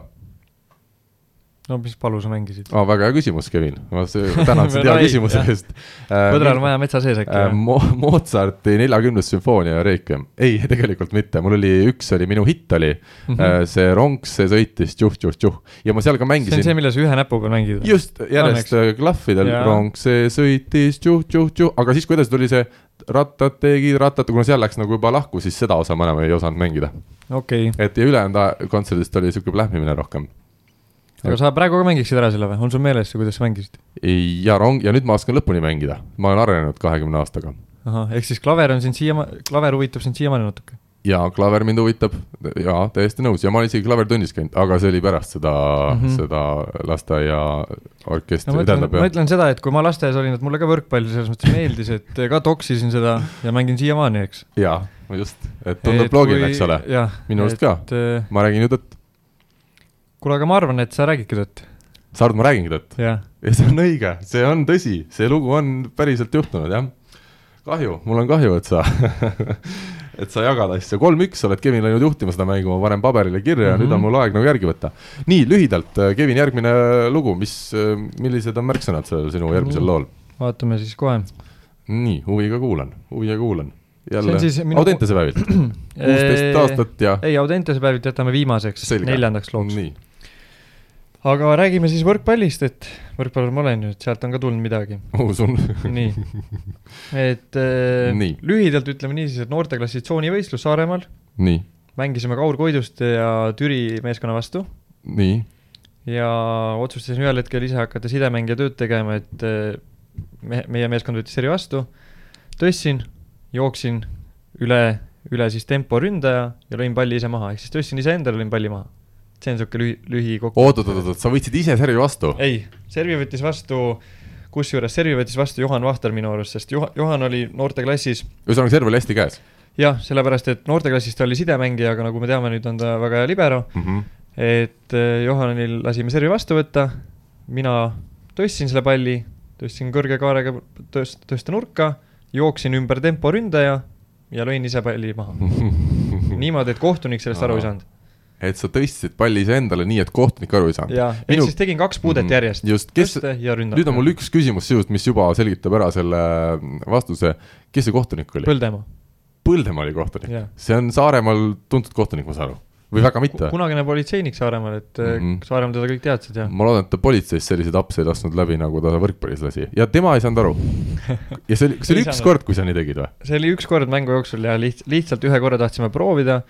Speaker 2: no mis palu sa mängisid ?
Speaker 1: aa , väga hea küsimus , Kevin , ma see- tänan sind hea
Speaker 2: Right,
Speaker 1: küsimuse
Speaker 2: jah.
Speaker 1: eest .
Speaker 2: põdral on vaja metsa sees äkki
Speaker 1: Äh,
Speaker 2: või ?
Speaker 1: Mo- , Mozarti neljakümnes sümfoonia Requiem , ei , tegelikult mitte , mul oli , üks oli minu hitt oli mm ,
Speaker 2: Mhm.
Speaker 1: -hmm. see rong , see sõitis tšuh-tšuh-tšuh ja ma seal ka
Speaker 2: see on see ,
Speaker 1: mängisin .
Speaker 2: mille sa ühe näpu peal mängid ?
Speaker 1: just , järjest äh, klahvidel
Speaker 2: Jaa.
Speaker 1: rong , see sõitis tšuh-tšuh-tšuh , aga siis , kui edasi tuli see rattad tegid rattat , kuna seal läks nagu juba lahku , siis seda osa ma enam ei osanud mängida .
Speaker 2: okei okay. ,
Speaker 1: et ja ülejäänud aja- kontserdist oli sihuke plähmimine rohkem .
Speaker 2: aga sa praegu ka mängiksid ära selle või , on sul meeles , kuidas sa mängisid ?
Speaker 1: ja rong , ja nüüd ma oskan lõpuni mängida , ma olen arenenud kahekümne aastaga
Speaker 2: ahah , ehk siis klaver on sind siiamaani , klaver huvitab sind siiamaani natuke .
Speaker 1: jaa , klaver mind huvitab jaa , täiesti nõus ja ma olen isegi klavertunnis käinud , aga see oli pärast seda mm ,
Speaker 2: Mhm.
Speaker 1: -hmm. seda lasteaia orkestri
Speaker 2: no
Speaker 1: no, ,
Speaker 2: ma ütlen ,
Speaker 1: tähendab
Speaker 2: ma
Speaker 1: jah ,
Speaker 2: ütlen seda , et kui ma lasteaias olin , et mulle ka võrkpall selles mõttes meeldis , et ka toksisin seda ja mängin siiamaani , eks .
Speaker 1: jaa , just , et tundub loogiline , eks ole ,
Speaker 2: jah ,
Speaker 1: minu arust ka ,
Speaker 2: et eh,
Speaker 1: ma räägin ju tõtt ,
Speaker 2: kuule , aga ma arvan , et sa räägidki tõtt ,
Speaker 1: sa arvad , ma räägingi tõtt ?
Speaker 2: jah .
Speaker 1: ja see on õige , see on tõsi , see lugu on päriselt juhtunud , jah . kahju , mul on kahju , et sa et sa jagad asja , kolm-üks oled Kevin läinud juhtima seda mängu , ma panen paberile kirja mm -hmm. ja nüüd on
Speaker 2: Mhm.
Speaker 1: mul aeg nagu järgi võtta . nii , lühidalt , Kevin , järgmine lugu , mis , millised on märksõnad sellel sinu järgmisel
Speaker 2: Mhm.
Speaker 1: lool ?
Speaker 2: vaatame siis kohe .
Speaker 1: nii , huviga kuulan , huviga kuulan . jälle
Speaker 2: on siis minu-
Speaker 1: Audentese päevilt , kuusteist aastat ja
Speaker 2: ei , Audentese päevilt jätame viimaseks ,
Speaker 1: Selge.
Speaker 2: neljandaks looks .
Speaker 1: nii ,
Speaker 2: aga räägime siis võrkpallist , et võrkpallur ma olen ju , et sealt on ka tulnud midagi .
Speaker 1: uus on ,
Speaker 2: nii , et eh,
Speaker 1: Nii.
Speaker 2: lühidalt ütleme niisiis , et noorteklassi tsoonivõistlus Saaremaal ,
Speaker 1: nii ,
Speaker 2: mängisime Kaur Koiduste ja Türi meeskonna vastu
Speaker 1: nii ,
Speaker 2: ja otsustasin ühel hetkel ise hakata sidemängija tööd tegema , et eh, me , meie meeskond võttis seri vastu , tõstsin , jooksin üle , üle siis temporündaja ja lõin palli ise maha , ehk siis tõstsin iseendale , lõin palli maha . see on niisugune lühi , lühikokku .
Speaker 1: oot-oot-oot , sa võtsid ise servi vastu ?
Speaker 2: ei , servi võttis vastu , kusjuures servi võttis vastu Juhan Vahter minu arust , sest Juhan , Juhan oli noorteklassis
Speaker 1: ühesõnaga , serv oli hästi käes
Speaker 2: jah , sellepärast et noorteklassis ta oli sidemängija , aga nagu me teame , nüüd on ta väga hea libero ,
Speaker 1: mm . -hmm.
Speaker 2: et eh, Johanil lasime servi vastu võtta , mina tõstsin selle palli , tõstsin kõrge kaarega tõst- , tõsta nurka , jooksin ümber temporündaja ja lõin ise palli maha . niimoodi , et kohtunik sellest aru ei saanud .
Speaker 1: et sa tõstsid palli iseendale nii , et kohtunik aru ei saanud .
Speaker 2: jaa , ehk
Speaker 1: Minu-
Speaker 2: siis tegin kaks puudet
Speaker 1: Mhm.
Speaker 2: järjest .
Speaker 1: Just, kes-
Speaker 2: tõste ja ründame .
Speaker 1: nüüd on mul üks küsimus sinust , mis juba selgitab ära selle mm, vastuse . kes see kohtunik oli ?
Speaker 2: Põldemaa .
Speaker 1: Põldemaa oli kohtunik
Speaker 2: Jah. .
Speaker 1: see on Saaremaal tuntud kohtunik , ma saan aru , või väga mitte ?
Speaker 2: kunagine politseinik Saaremaal , et mm
Speaker 1: Mhm.
Speaker 2: -hmm. Saaremaal teda kõik teadsid ja
Speaker 1: ma loodan , et ta politseis selliseid apse ei lasknud läbi , nagu ta võrkpallis lasi ja tema ei saanud aru . ja see oli , kas see
Speaker 2: Ei
Speaker 1: oli üks
Speaker 2: saanud.
Speaker 1: kord , kui sa nii tegid või ?
Speaker 2: see oli üks kord mängu jooksul ja liht- , lihtsalt ühe korra tahtsime proovida ,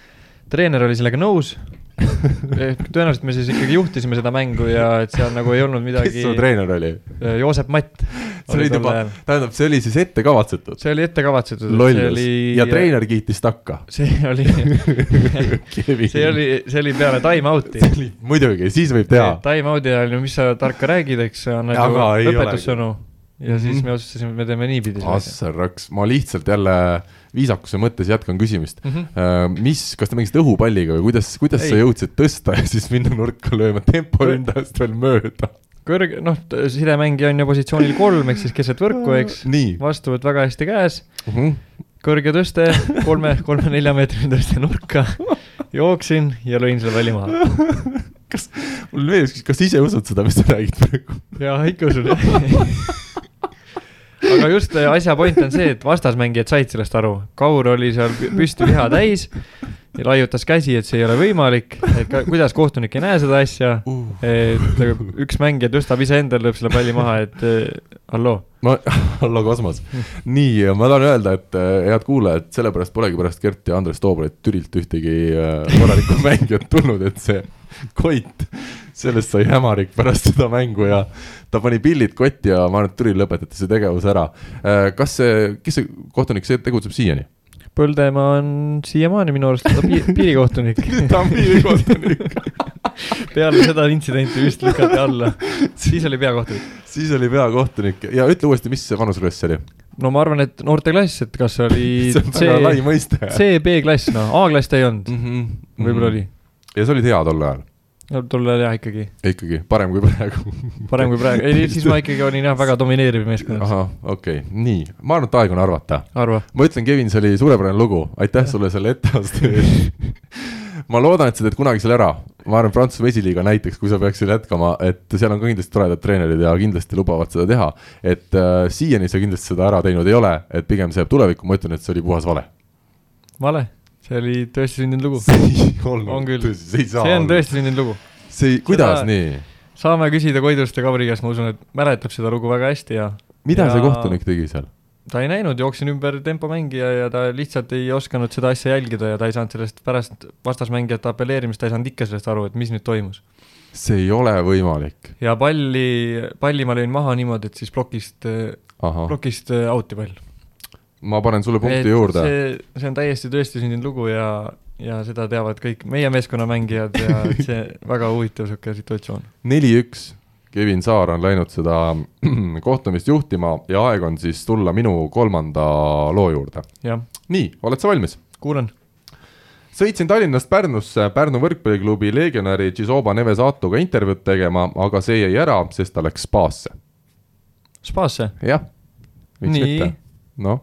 Speaker 2: treener oli sellega nõus , tõenäoliselt me siis ikkagi juhtisime seda mängu ja et seal nagu ei olnud
Speaker 1: kes
Speaker 2: midagi Äh,
Speaker 1: su , treener oli ?
Speaker 2: Joosep Matt .
Speaker 1: see oli juba , tähendab , see oli siis ette kavatsetud ,
Speaker 2: see oli ette kavatsetud , see
Speaker 1: lollus
Speaker 2: oli
Speaker 1: ja treener kiitis takka .
Speaker 2: see oli , see oli , see oli peale time out'i .
Speaker 1: muidugi , siis võib teha .
Speaker 2: Time out'i ajal , no mis sa tarka räägid , eks , on nagu
Speaker 1: Aga ei
Speaker 2: lõpetussõnu ja siis
Speaker 1: Mhm.
Speaker 2: me otsustasime , et me teeme niipidi selle asja .
Speaker 1: Assar Raks , ma lihtsalt jälle viisakuse mõttes jätkan küsimist .
Speaker 2: Mhm.
Speaker 1: mis , kas te mängisite õhupalliga või kuidas , kuidas sa
Speaker 2: Ei.
Speaker 1: jõudsid tõsta ja siis minna nurka lööma tempo
Speaker 2: Kõ-
Speaker 1: ründajast veel mööda ?
Speaker 2: kõrge , noh , sidemängija on ju positsioonil kolm , ehk siis keset võrku , eks ,
Speaker 1: Äh, nii ,
Speaker 2: vastuvõtt väga hästi käes ,
Speaker 1: Mhm.
Speaker 2: kõrge tõste , kolme , kolme-nelja meetrine tõste nurka , jooksin ja lõin selle palli maha .
Speaker 1: kas , mul veel üks küsimus , kas sa ise usud seda , mis sa räägid praegu ?
Speaker 2: ja ikka usun . aga just äh, asja point on see , et vastasmängijad said sellest aru , Kaur oli seal pü- püsti viha täis ja laiutas käsi , et see ei ole võimalik , et ka, kuidas kohtunik ei näe seda asja , et äh, üks mängija tõstab iseendale , lööb selle palli maha , et äh, halloo .
Speaker 1: ma , Allo Kosmos , nii , ma tahan öelda , et eh, head kuulajad , sellepärast polegi pärast Gert ja Andres Toobalit Türilt ühtegi eh, korralikku mängijat tulnud , et see Koit , sellest sai hämarik pärast seda mängu ja ta pani pillid kotti ja ma arvan , et Türil lõpetati see tegevus ära . kas see , kes see kohtunik , see tegutseb siiani ?
Speaker 2: Põldemaa on siiamaani minu arust ta pi- piirikohtunik
Speaker 1: ta on piirikohtunik .
Speaker 2: peale seda intsidenti vist lükati alla , siis oli peakohtunik .
Speaker 1: siis oli peakohtunik ja ütle uuesti , mis see vanuseklass oli ?
Speaker 2: no ma arvan , et noorteklass , et kas oli
Speaker 1: see on
Speaker 2: C
Speaker 1: väga , lai mõiste .
Speaker 2: C , B-klass , noh , A-klass ta ei olnud ,
Speaker 1: -hmm.
Speaker 2: võib-olla oli .
Speaker 1: ja sa olid hea tol ajal
Speaker 2: no tollal jah ikkagi ,
Speaker 1: ikkagi parem kui praegu .
Speaker 2: parem kui praegu , ei siis ma ikkagi olin jah väga domineeriv meeskond ,
Speaker 1: ahah , okei okay. , nii , ma arvan , et aeg on arvata .
Speaker 2: arva .
Speaker 1: ma ütlen , Kevin , see oli suurepärane lugu , aitäh sulle selle etteaste eest . ma loodan , et sa teed kunagi selle ära , ma arvan , Prantsuse vesiliiga näiteks , kui sa peaksid jätkama , et seal on ka kindlasti toredad treenerid ja kindlasti lubavad seda teha . et äh, siiani sa kindlasti seda ära teinud ei ole , et pigem see jääb tulevikku , ma ütlen , et see oli puhas vale .
Speaker 2: vale , see oli tõesti sündinud lugu ,
Speaker 1: see ei olnud
Speaker 2: On küll.
Speaker 1: tõsi , see ei saa
Speaker 2: see on . tõesti sündinud lugu .
Speaker 1: see ei , kuidas
Speaker 2: Seda-
Speaker 1: seda... nii ?
Speaker 2: saame küsida Koiduste Kabri käest , ma usun , et mäletab seda lugu väga hästi ja
Speaker 1: mida ja... see
Speaker 2: Ja-
Speaker 1: kohtunik tegi seal ?
Speaker 2: ta ei näinud , jooksin ümber tempomängija ja ta lihtsalt ei osanud seda asja jälgida ja ta ei saanud sellest pärast vastasmängijate apelleerimist , ta ei saanud ikka sellest aru , et mis nüüd toimus .
Speaker 1: see ei ole võimalik .
Speaker 2: ja palli , palli ma lõin maha niimoodi , et siis plokist ,
Speaker 1: ahah ,
Speaker 2: plokist äh, out'i pall .
Speaker 1: ma panen sulle punkti
Speaker 2: et
Speaker 1: et juurde see... .
Speaker 2: see , see on täiesti tõestisündinud lugu ja , ja seda teavad kõik meie meeskonnamängijad ja see väga huvitav niisugune situatsioon .
Speaker 1: neli-üks , Kevin Saar on läinud seda kohtumist juhtima ja aeg on siis tulla minu kolmanda loo juurde .
Speaker 2: jah ,
Speaker 1: nii , oled sa valmis ?
Speaker 2: kuulan .
Speaker 1: sõitsin Tallinnast Pärnusse Pärnu võrkpalliklubi legionäri Gisoba Neves Aatoga intervjuud tegema , aga see jäi ära , sest ta läks spaasse .
Speaker 2: spaasse ,
Speaker 1: jah , miks
Speaker 2: Nii.
Speaker 1: mitte . noh ,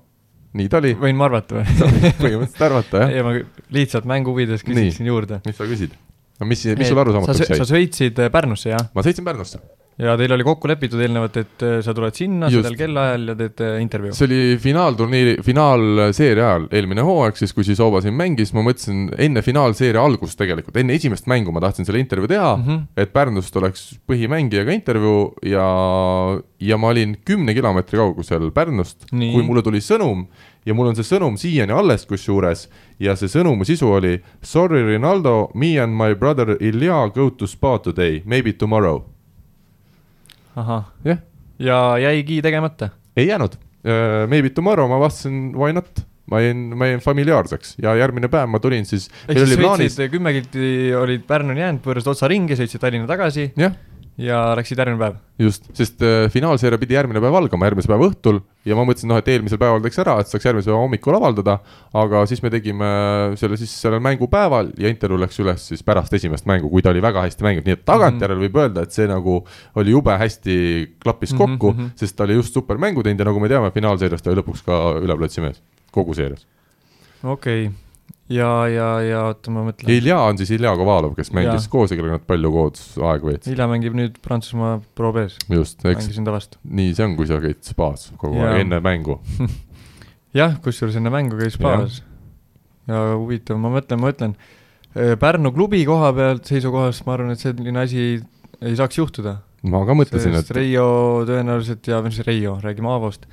Speaker 1: nii ta oli ,
Speaker 2: võin ma arvata või ?
Speaker 1: põhimõtteliselt arvata jah .
Speaker 2: ja ma lihtsalt mängu huvides küsiksin juurde .
Speaker 1: mis sa küsid ? no mis , mis sul arusaamatuks
Speaker 2: sa
Speaker 1: jäi ?
Speaker 2: sõitsid äh, Pärnusse , jah ?
Speaker 1: ma sõitsin Pärnusse ,
Speaker 2: ja teil oli kokku lepitud eelnevalt , et äh, sa tuled sinna
Speaker 1: Just.
Speaker 2: sellel kellaajal ja teed äh, intervjuu .
Speaker 1: see oli finaalturniiri , finaalseeria ajal , eelmine hooaeg siis , kui Gisoba siin mängis , ma mõtlesin enne finaalseeria algust tegelikult , enne esimest mängu ma tahtsin selle intervjuu teha mm ,
Speaker 2: Mhm.
Speaker 1: et Pärnust oleks põhimängijaga intervjuu ja , ja ma olin kümne kilomeetri kaugusel Pärnust ,
Speaker 2: Nii.
Speaker 1: kui mulle tuli sõnum ja mul on see sõnum siiani alles kusjuures ja see sõnumi sisu oli Sorry Rinaldo , me and my brother Ilja go to spa today , maybe tomorrow .
Speaker 2: ahah ,
Speaker 1: jah ,
Speaker 2: ja jäigi tegemata .
Speaker 1: ei jäänud . Äh, Maybe tomorrow ma vastasin why not , ma jäin , ma jäin familiaarseks ja järgmine päev ma tulin siis ,
Speaker 2: ehk
Speaker 1: meil
Speaker 2: siis
Speaker 1: oli plaanis ,
Speaker 2: sõitsid kümme kilti , olid Pärnuni jäänud , pöörasid otsa ringi , sõitsid Tallinna tagasi
Speaker 1: jah
Speaker 2: ja läksid järgmine päev .
Speaker 1: just , sest äh, finaalseeria pidi järgmine päev algama , järgmise päeva õhtul ja ma mõtlesin , noh , et eelmisel päeval teeks ära , et saaks järgmise päeva hommikul avaldada , aga siis me tegime äh, selle siis sellel mängupäeval ja intervjuu läks üles siis pärast esimest mängu , kui ta oli väga hästi mänginud , nii et tagantjärele võib öelda , et see nagu oli jube hästi klappis
Speaker 2: Mhm,
Speaker 1: kokku mm ,
Speaker 2: mhm.
Speaker 1: -hmm. sest ta oli just super mängu teinud ja nagu me teame , finaalseerias ta oli lõpuks ka üleplatsi mees , kogu seerias .
Speaker 2: okei okay. , ja , ja , ja oota , ma mõtlen .
Speaker 1: Ilja on siis Ilja Kovalov , kes mängis
Speaker 2: Jaa.
Speaker 1: koos ja kellega nad palju koos aega veetsid ,
Speaker 2: Ilja mängib nüüd Prantsusmaa Pro B-s ,
Speaker 1: just , eks
Speaker 2: mängisin ta vastu .
Speaker 1: nii see on , kui sa käid spaas kogu
Speaker 2: Jaa.
Speaker 1: aeg enne mängu .
Speaker 2: jah , kusjuures enne mängu käis spaas . ja huvitav , ma mõtlen , ma mõtlen , Pärnu klubi koha pealt seisukohast ma arvan , et selline asi ei saaks juhtuda .
Speaker 1: ma ka mõtlesin ,
Speaker 2: sest
Speaker 1: et
Speaker 2: Reio tõenäoliselt ja , või mis Reio , räägime Aavost .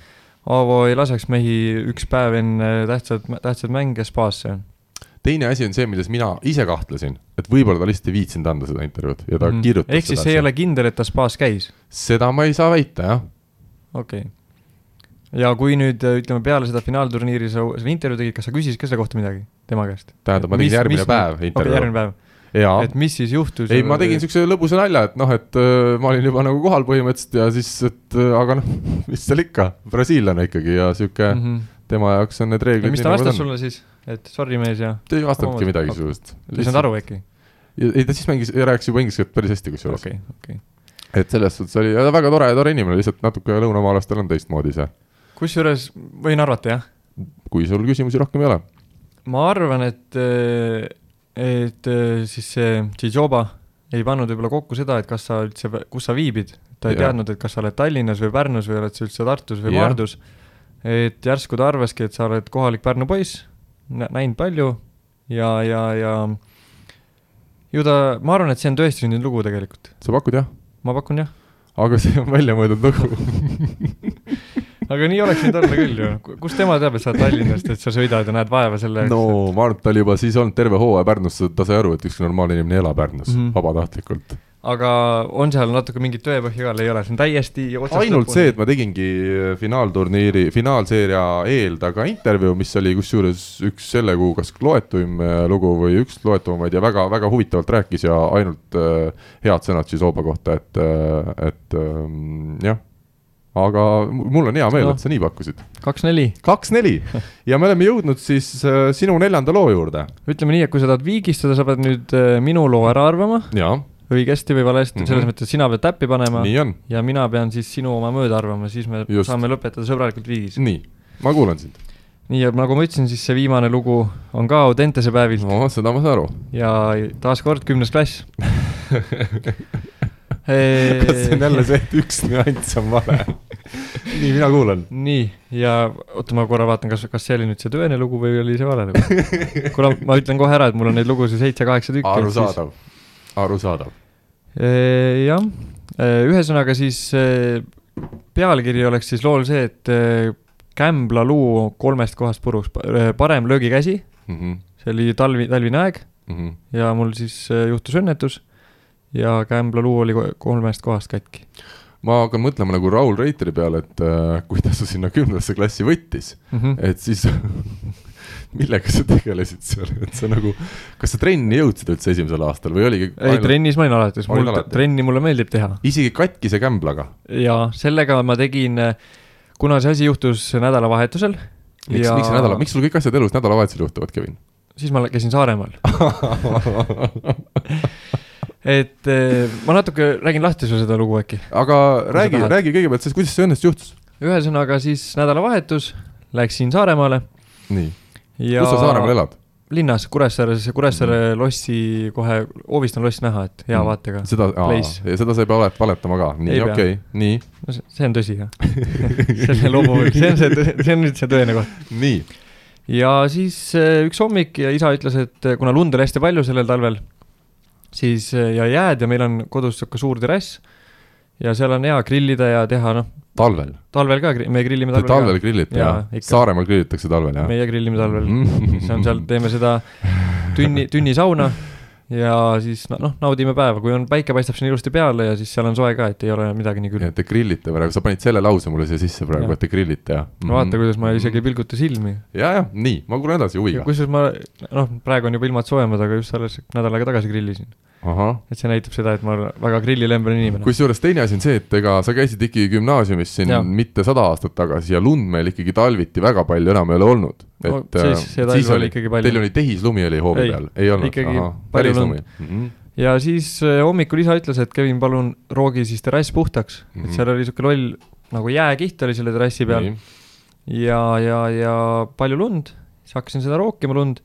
Speaker 2: Aavo ei laseks mehi üks päev enne tähtsat , tähtsat mänge spaasse .
Speaker 1: teine asi on see , milles mina ise kahtlesin , et võib-olla ta lihtsalt ei viitsinud anda seda intervjuud ja ta mm. kirjutas
Speaker 2: Mhm. ehk siis see ei ole kindel , et ta spaas käis ,
Speaker 1: seda ma ei saa väita , jah .
Speaker 2: okei okay. ja kui nüüd äh, ütleme peale seda finaalturniiri sa u- selle intervjuu tegid , kas sa küsisid ka selle kohta midagi tema käest ?
Speaker 1: tähendab , ma tegin järgmine päev
Speaker 2: okei ,
Speaker 1: intervjuu
Speaker 2: järgmine päev ,
Speaker 1: okay, ja
Speaker 2: et mis siis juhtus ?
Speaker 1: ei , ma tegin siukse lõbusa nalja , et noh , et öö, ma olin juba nagu kohal põhimõtteliselt ja siis , et öö, aga noh , mis seal ikka , brasiillane ikkagi ja siuke mm.
Speaker 2: -hmm.
Speaker 1: tema jaoks on need
Speaker 2: ja
Speaker 1: reeglid .
Speaker 2: mis ta vastas ? sulle siis , et sorry mees ja
Speaker 1: ta ei vastanudki
Speaker 2: Oot,
Speaker 1: midagi
Speaker 2: oot.
Speaker 1: sisuliselt .
Speaker 2: sa ei saanud aru ? äkki ?
Speaker 1: ei , ta siis mängis , rääkis juba inglise keelt päris hästi kusjuures okay. .
Speaker 2: okei , okei .
Speaker 1: et selles suhtes oli ja ta väga tore , tore inimene , lihtsalt natuke lõunamaalastel on teistmoodi see ,
Speaker 2: kusjuures võin arvata jah ,
Speaker 1: kui sul küsimusi rohkem ei ole .
Speaker 2: ma arvan , et , et eh, siis see Tšižoba ei pannud võib-olla kokku seda , et kas sa üldse , kus sa viibid . ta ei
Speaker 1: Jah.
Speaker 2: teadnud , et kas sa oled Tallinnas või Pärnus või oled sa üldse Tartus või
Speaker 1: Jah.
Speaker 2: Maardus . et järsku ta arvaski , et sa oled kohalik Pärnu poiss , näinud palju ja , ja , ja ju ta , ma arvan , et see on tõesti sündinud lugu tegelikult ,
Speaker 1: sa pakud jah ?
Speaker 2: ma pakun jah .
Speaker 1: aga see on nagu- väljamõeldud lugu .
Speaker 2: aga nii oleks võinud olla küll ju , kust tema teab , et sa oled Tallinnast , et sa sõidad ja näed vaeva selle
Speaker 1: no ma arvan , et ta oli juba siis olnud terve hooaja Pärnus , ta sai aru , et ükski normaalne inimene ei ela Pärnus mm
Speaker 2: Mhm.
Speaker 1: -hmm. vabatahtlikult .
Speaker 2: aga on seal natuke mingit tõepõhja ka , ei ole , see on täiesti otsast
Speaker 1: ainult see , et ma tegingi äh, finaalturniiri , finaalseeria eel taga intervjuu , mis oli kusjuures üks selle kuu kas loetuim äh, lugu või üks loetumaid ja väga-väga huvitavalt rääkis ja ainult äh, head sõnad Shizoba kohta , et äh, , et ähm, jah . aga mu- mul on hea meel no. ,
Speaker 2: No.
Speaker 1: et sa nii pakkusid .
Speaker 2: kaks-neli ,
Speaker 1: kaks-neli ja me oleme jõudnud siis äh, sinu neljanda loo juurde .
Speaker 2: ütleme nii , et kui sa tahad viigistada , sa pead nüüd äh, minu loo ära arvama
Speaker 1: jaa ,
Speaker 2: õigesti või valesti mm , -hmm. selles
Speaker 1: Mhm.
Speaker 2: mõttes sina pead täppi panema
Speaker 1: nii on ,
Speaker 2: ja mina pean siis sinu oma mööda arvama , siis me
Speaker 1: Just.
Speaker 2: Just. saame lõpetada sõbralikult viis .
Speaker 1: nii , ma kuulan sind .
Speaker 2: nii , ja nagu ma ütlesin , siis see viimane lugu on ka Audentese päevilt
Speaker 1: no seda ma saan aru .
Speaker 2: ja taaskord kümnes klass .
Speaker 1: kas see on jälle see , et üks nüanss on vale ? nii , mina kuulan .
Speaker 2: nii , ja oota , ma korra vaatan , kas , kas see oli nüüd see tõene lugu või oli see vale lugu ? kuna ma ütlen kohe ära , et mul on neid lugusid seitse-kaheksa tükki .
Speaker 1: arusaadav , arusaadav .
Speaker 2: Äh, jah , ühesõnaga siis eh, pealkiri oleks siis lool see , et eh, Kämbla luu kolmest kohast puruks , parem löögikäsi ,
Speaker 1: Mhm,
Speaker 2: see oli talvi , talvine aeg ja mul siis eh, juhtus õnnetus ja Kämbla luu oli ko- kolmest kohast katki .
Speaker 1: ma hakkan mõtlema nagu Raul Reiteri peale , et äh, kui ta su sinna kümnendasse klassi võttis ,
Speaker 2: Mhm.
Speaker 1: et siis millega sa tegelesid seal , et sa nagu , kas sa trenni jõudsid üldse esimesel aastal või oligi
Speaker 2: ei , trennis ma olin alati , sest
Speaker 1: Olid
Speaker 2: mul
Speaker 1: alati.
Speaker 2: trenni mulle meeldib teha
Speaker 1: isegi katkise kämblaga ?
Speaker 2: jaa , sellega ma tegin , kuna see asi juhtus nädalavahetusel
Speaker 1: miks ja... , miks see nädala , miks sul kõik asjad elus nädalavahetusel juhtuvad , Kevin ?
Speaker 2: siis ma käisin Saaremaal . et eh, ma natuke räägin lahti sulle seda lugu äkki .
Speaker 1: aga
Speaker 2: sa
Speaker 1: räägi ,
Speaker 2: tahad.
Speaker 1: räägi kõigepealt sellest , kuidas see õnnest juhtus ?
Speaker 2: ühesõnaga siis nädalavahetus , läksin Saaremaale
Speaker 1: nii ,
Speaker 2: ja
Speaker 1: kus sa Saaremaal elad ? Mhm.
Speaker 2: linnas Kuressaares , Kuressaare lossi kohe , hoovist on loss näha , et hea
Speaker 1: Mm.
Speaker 2: vaatega .
Speaker 1: seda ,
Speaker 2: Place.
Speaker 1: ja seda sa ei pea valet- valetama ka , nii
Speaker 2: Ei , pea.
Speaker 1: okei okay. , nii ,
Speaker 2: no see see on tõsi jah , selle loo puhul , see on see , see on nüüd see tõene koht .
Speaker 1: nii ,
Speaker 2: ja siis eh, üks hommik ja isa ütles , et eh, kuna lund oli hästi palju sellel talvel , siis eh, ja jääd ja meil on kodus sihuke suur terrass ja seal on hea grillida ja teha noh ,
Speaker 1: talvel .
Speaker 2: talvel ka , me grillime
Speaker 1: Te
Speaker 2: talvel,
Speaker 1: talvel grillite ,
Speaker 2: Jaa,
Speaker 1: jah ?
Speaker 2: ikka.
Speaker 1: Saaremaal grillitakse talvel ,
Speaker 2: ka ,
Speaker 1: jah ?
Speaker 2: meie grillime talvel mm ,
Speaker 1: Mhm.
Speaker 2: -hmm. siis on seal , teeme seda tünni , tunnisauna ja siis no- noh , naudime päeva , kui on päike paistab sinna ilusti peale ja siis seal on soe ka , et ei ole midagi nii külm .
Speaker 1: Te grillite praegu , sa panid selle lause mulle siia sisse praegu ,
Speaker 2: Jah.
Speaker 1: et te grillite , jah ? Mhm.
Speaker 2: no vaata , kuidas ma isegi ei pilguta silmi .
Speaker 1: ja , ja nii , ma kuulan edasi huviga .
Speaker 2: kusjuures ma noh , praegu on juba ilmad soojemad , aga just alles nädal aega tagasi grillisin .
Speaker 1: ahah ,
Speaker 2: et see näitab seda , et ma olen väga grillilembene inimene Kus... .
Speaker 1: kusjuures teine asi on see , et ega sa käisid ikkagi gümnaasiumis siin ja.
Speaker 2: Jaa.
Speaker 1: mitte sada aastat tagasi ja lund meil ikkagi talviti väga palju enam ei ole olnud . et
Speaker 2: No siis- see
Speaker 1: äh,
Speaker 2: talv oli ikkagi palju.
Speaker 1: Teil oli tehislumi oli hoovi
Speaker 2: Ei,
Speaker 1: peal , ei olnud ,
Speaker 2: ikkagi
Speaker 1: ahah ,
Speaker 2: palju
Speaker 1: päris
Speaker 2: lund. Mhm.
Speaker 1: lumi mm . -hmm.
Speaker 2: ja siis äh, hommikul isa ütles , et Kevin , palun roogi siis terrass puhtaks mm , -hmm.
Speaker 1: Mhm.
Speaker 2: et seal oli sihuke loll nagu jääkiht oli selle terrassi peal
Speaker 1: nii ,
Speaker 2: ja , ja , ja palju lund , siis hakkasin seda rookima lund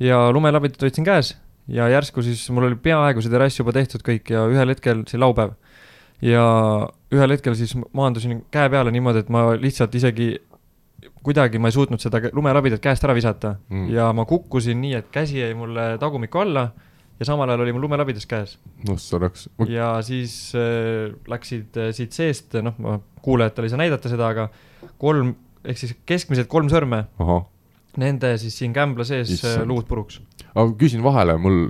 Speaker 2: ja lumelabidad hoidsin käes ja järsku siis mul oli peaaegu see terrass juba tehtud kõik ja ühel hetkel , see oli laupäv , ja ühel hetkel siis maandusin käe peale niimoodi , et ma lihtsalt isegi kuidagi ma ei suutnud seda kä- lumelabidat käest ära visata mm.
Speaker 1: Mm.
Speaker 2: ja ma kukkusin nii , et käsi jäi mulle tagumikku alla ja samal ajal oli mul lumelabidas käes
Speaker 1: noh , sa oleks ,
Speaker 2: ja siis äh, läksid äh, siit seest , noh , ma kuulajatele ei saa näidata seda , aga kolm , ehk siis keskmiselt kolm sõrme ,
Speaker 1: ahah ,
Speaker 2: nende siis siin kämbla sees äh,
Speaker 1: Issand.
Speaker 2: luud puruks .
Speaker 1: aga küsin vahele , mul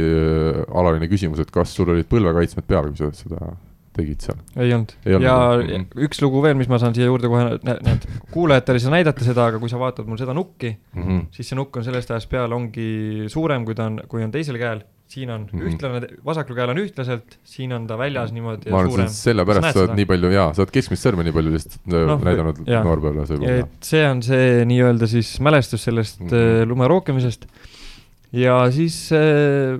Speaker 1: võrkpallialaline küsimus , et kas sul olid põlvekaitsmed peal , kui sa seda tegid seal ?
Speaker 2: ei olnud
Speaker 1: Ei olnud,
Speaker 2: ja
Speaker 1: mhm.
Speaker 2: üks lugu veel , mis ma saan siia juurde kohe , näed , kuulajatele ei saa näidata seda , aga kui sa vaatad mul seda nukki ,
Speaker 1: Mm -hmm.
Speaker 2: siis see nukk on sellest ajast peale ongi suurem , kui ta on , kui on teisel käel , siin on mm
Speaker 1: Mhm.
Speaker 2: -hmm. ühtlane , vasakul käel on ühtlaselt , siin on ta väljas niimoodi
Speaker 1: ma
Speaker 2: ja
Speaker 1: arvan , et
Speaker 2: suurem . Sa
Speaker 1: sellepärast
Speaker 2: näed
Speaker 1: sa oled
Speaker 2: seda?
Speaker 1: nii palju jaa , sa oled keskmist sõrme nii palju lihtsalt no,
Speaker 2: Noh,
Speaker 1: näidanud
Speaker 2: jaa.
Speaker 1: noorpõlves võib-olla .
Speaker 2: et see on see nii-öelda siis mälestus sellest mm
Speaker 1: Mhm.
Speaker 2: -hmm. lumerookimisest ja siis äh,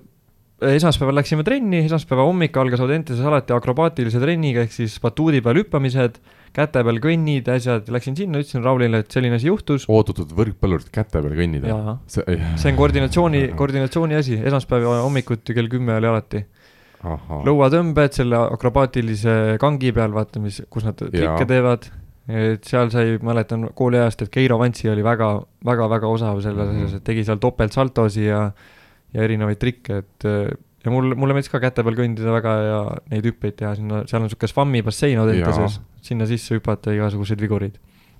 Speaker 2: esmaspäeval läksime trenni , esmaspäeva hommik algas Audenteses alati akrobaatilise trenniga , ehk siis batuudi peal hüppamised , käte peal kõnnid , asjad , läksin sinna , ütlesin Raulile , et selline asi juhtus
Speaker 1: oodatud võrkpallurit käte peal kõnnida .
Speaker 2: ja
Speaker 1: see ,
Speaker 2: see on koordinatsiooni , koordinatsiooni asi , esmaspäeva hommikuti kell kümme oli alati
Speaker 1: ahah ,
Speaker 2: lõuatõmbed selle akrobaatilise kangi peal , vaata , mis , kus nad trikke teevad . et seal sai , mäletan kooliajast , et Keiro Vantsi oli väga , väga , väga osav selles
Speaker 1: Mhm.
Speaker 2: asjas , et tegi seal topeltsaltosi ja , ja erinevaid trikke , et eh, ja mul , mulle meeldis ka käte peal kõndida väga ja neid hüppeid teha sinna , seal on sihuke svammi bassein Audentases , sinna sisse hüpata igasuguseid vigureid .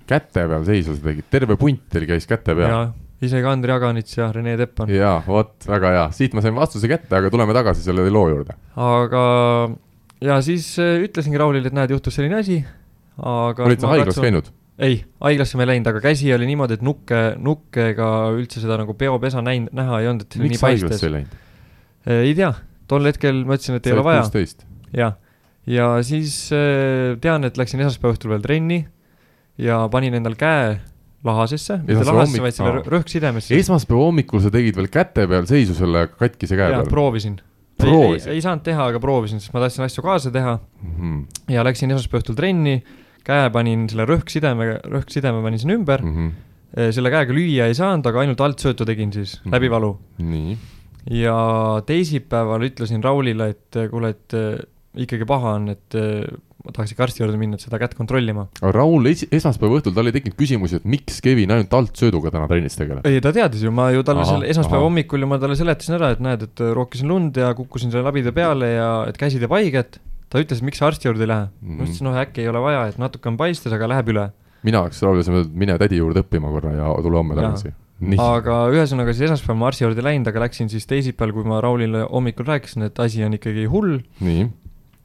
Speaker 1: käte peal seisu sa tegid , terve punt teil käis käte
Speaker 2: ja
Speaker 1: peal .
Speaker 2: isegi Andrei Aganits ja Rene Teppan .
Speaker 1: jaa , vot , väga hea , siit ma sain vastuse kätte , aga tuleme tagasi selle loo juurde .
Speaker 2: aga ja siis eh, ütlesingi Raulile , et näed , juhtus selline asi , aga
Speaker 1: olid sa
Speaker 2: ma
Speaker 1: haiglas
Speaker 2: katsun-
Speaker 1: käinud ?
Speaker 2: ei , haiglasse ma ei läinud , aga käsi oli niimoodi , et nukke , nukkega üldse seda nagu peopesa näinud , näha ei olnud , et see oli nii
Speaker 1: miks sa
Speaker 2: paistes
Speaker 1: haiglasse . ei läinud ?
Speaker 2: ei tea , tol hetkel ma ütlesin , et ei ole vaja
Speaker 1: kuusteist .
Speaker 2: ja , ja siis äh, tean , et läksin esmaspäeva õhtul veel trenni ja panin endal käe lahasesse , mitte
Speaker 1: Esmaspäeva
Speaker 2: lahasesse ,
Speaker 1: hommik-
Speaker 2: vaid selle
Speaker 1: aa.
Speaker 2: rõhksidemesse .
Speaker 1: esmaspäeva hommikul sa tegid veel käte peal seisu selle katkise käe
Speaker 2: ja
Speaker 1: peal .
Speaker 2: proovisin , ei,
Speaker 1: proovisid
Speaker 2: ei saanud teha , aga proovisin , sest ma tahtsin asju kaasa teha
Speaker 1: Mhm,
Speaker 2: ja läksin esmaspäeva õhtul trenni , käe panin selle rõhksidemega , rõhksideme panin sinna ümber ,
Speaker 1: mhm.
Speaker 2: Äh, selle käega lüüa ei saanud , aga ainult altsöötu tegin siis
Speaker 1: Mhm.
Speaker 2: läbi valu .
Speaker 1: nii ,
Speaker 2: ja teisipäeval ütlesin Raulile , et eh, kuule , et eh, ikkagi paha on , et eh, ma tahaks ikka arsti juurde minna , et seda kätt kontrollima .
Speaker 1: aga Raul es esmaspäeva õhtul , tal ei tekkinud küsimusi , et miks Kevin ainult altsööduga täna trennis tegeleb ?
Speaker 2: ei , ta teadis ju , ma ju talle
Speaker 1: Ahah,
Speaker 2: seal esmaspäeva
Speaker 1: ahah.
Speaker 2: hommikul ju ma talle seletasin ära , et näed , et rokkisin lund ja kukkusin selle labide peale ja et käsi teeb haiget . ta ütles , et miks sa arsti juurde ei lähe mm . -hmm. ma
Speaker 1: Mhm.
Speaker 2: ütlesin , noh , äkki ei ole vaja , et natuke on paistes , aga läheb üle .
Speaker 1: mina oleks Raulile öelnud , et mine tädi juurde õppima korra ja tule homme
Speaker 2: Jaa.
Speaker 1: tagasi . nii ,
Speaker 2: aga ühesõnaga siis esmaspäeval ma arsti juurde ei läinud , aga läksin siis teisipäeval , kui ma Raulile hommikul rääkisin , et asi on ikkagi hull ,
Speaker 1: nii ,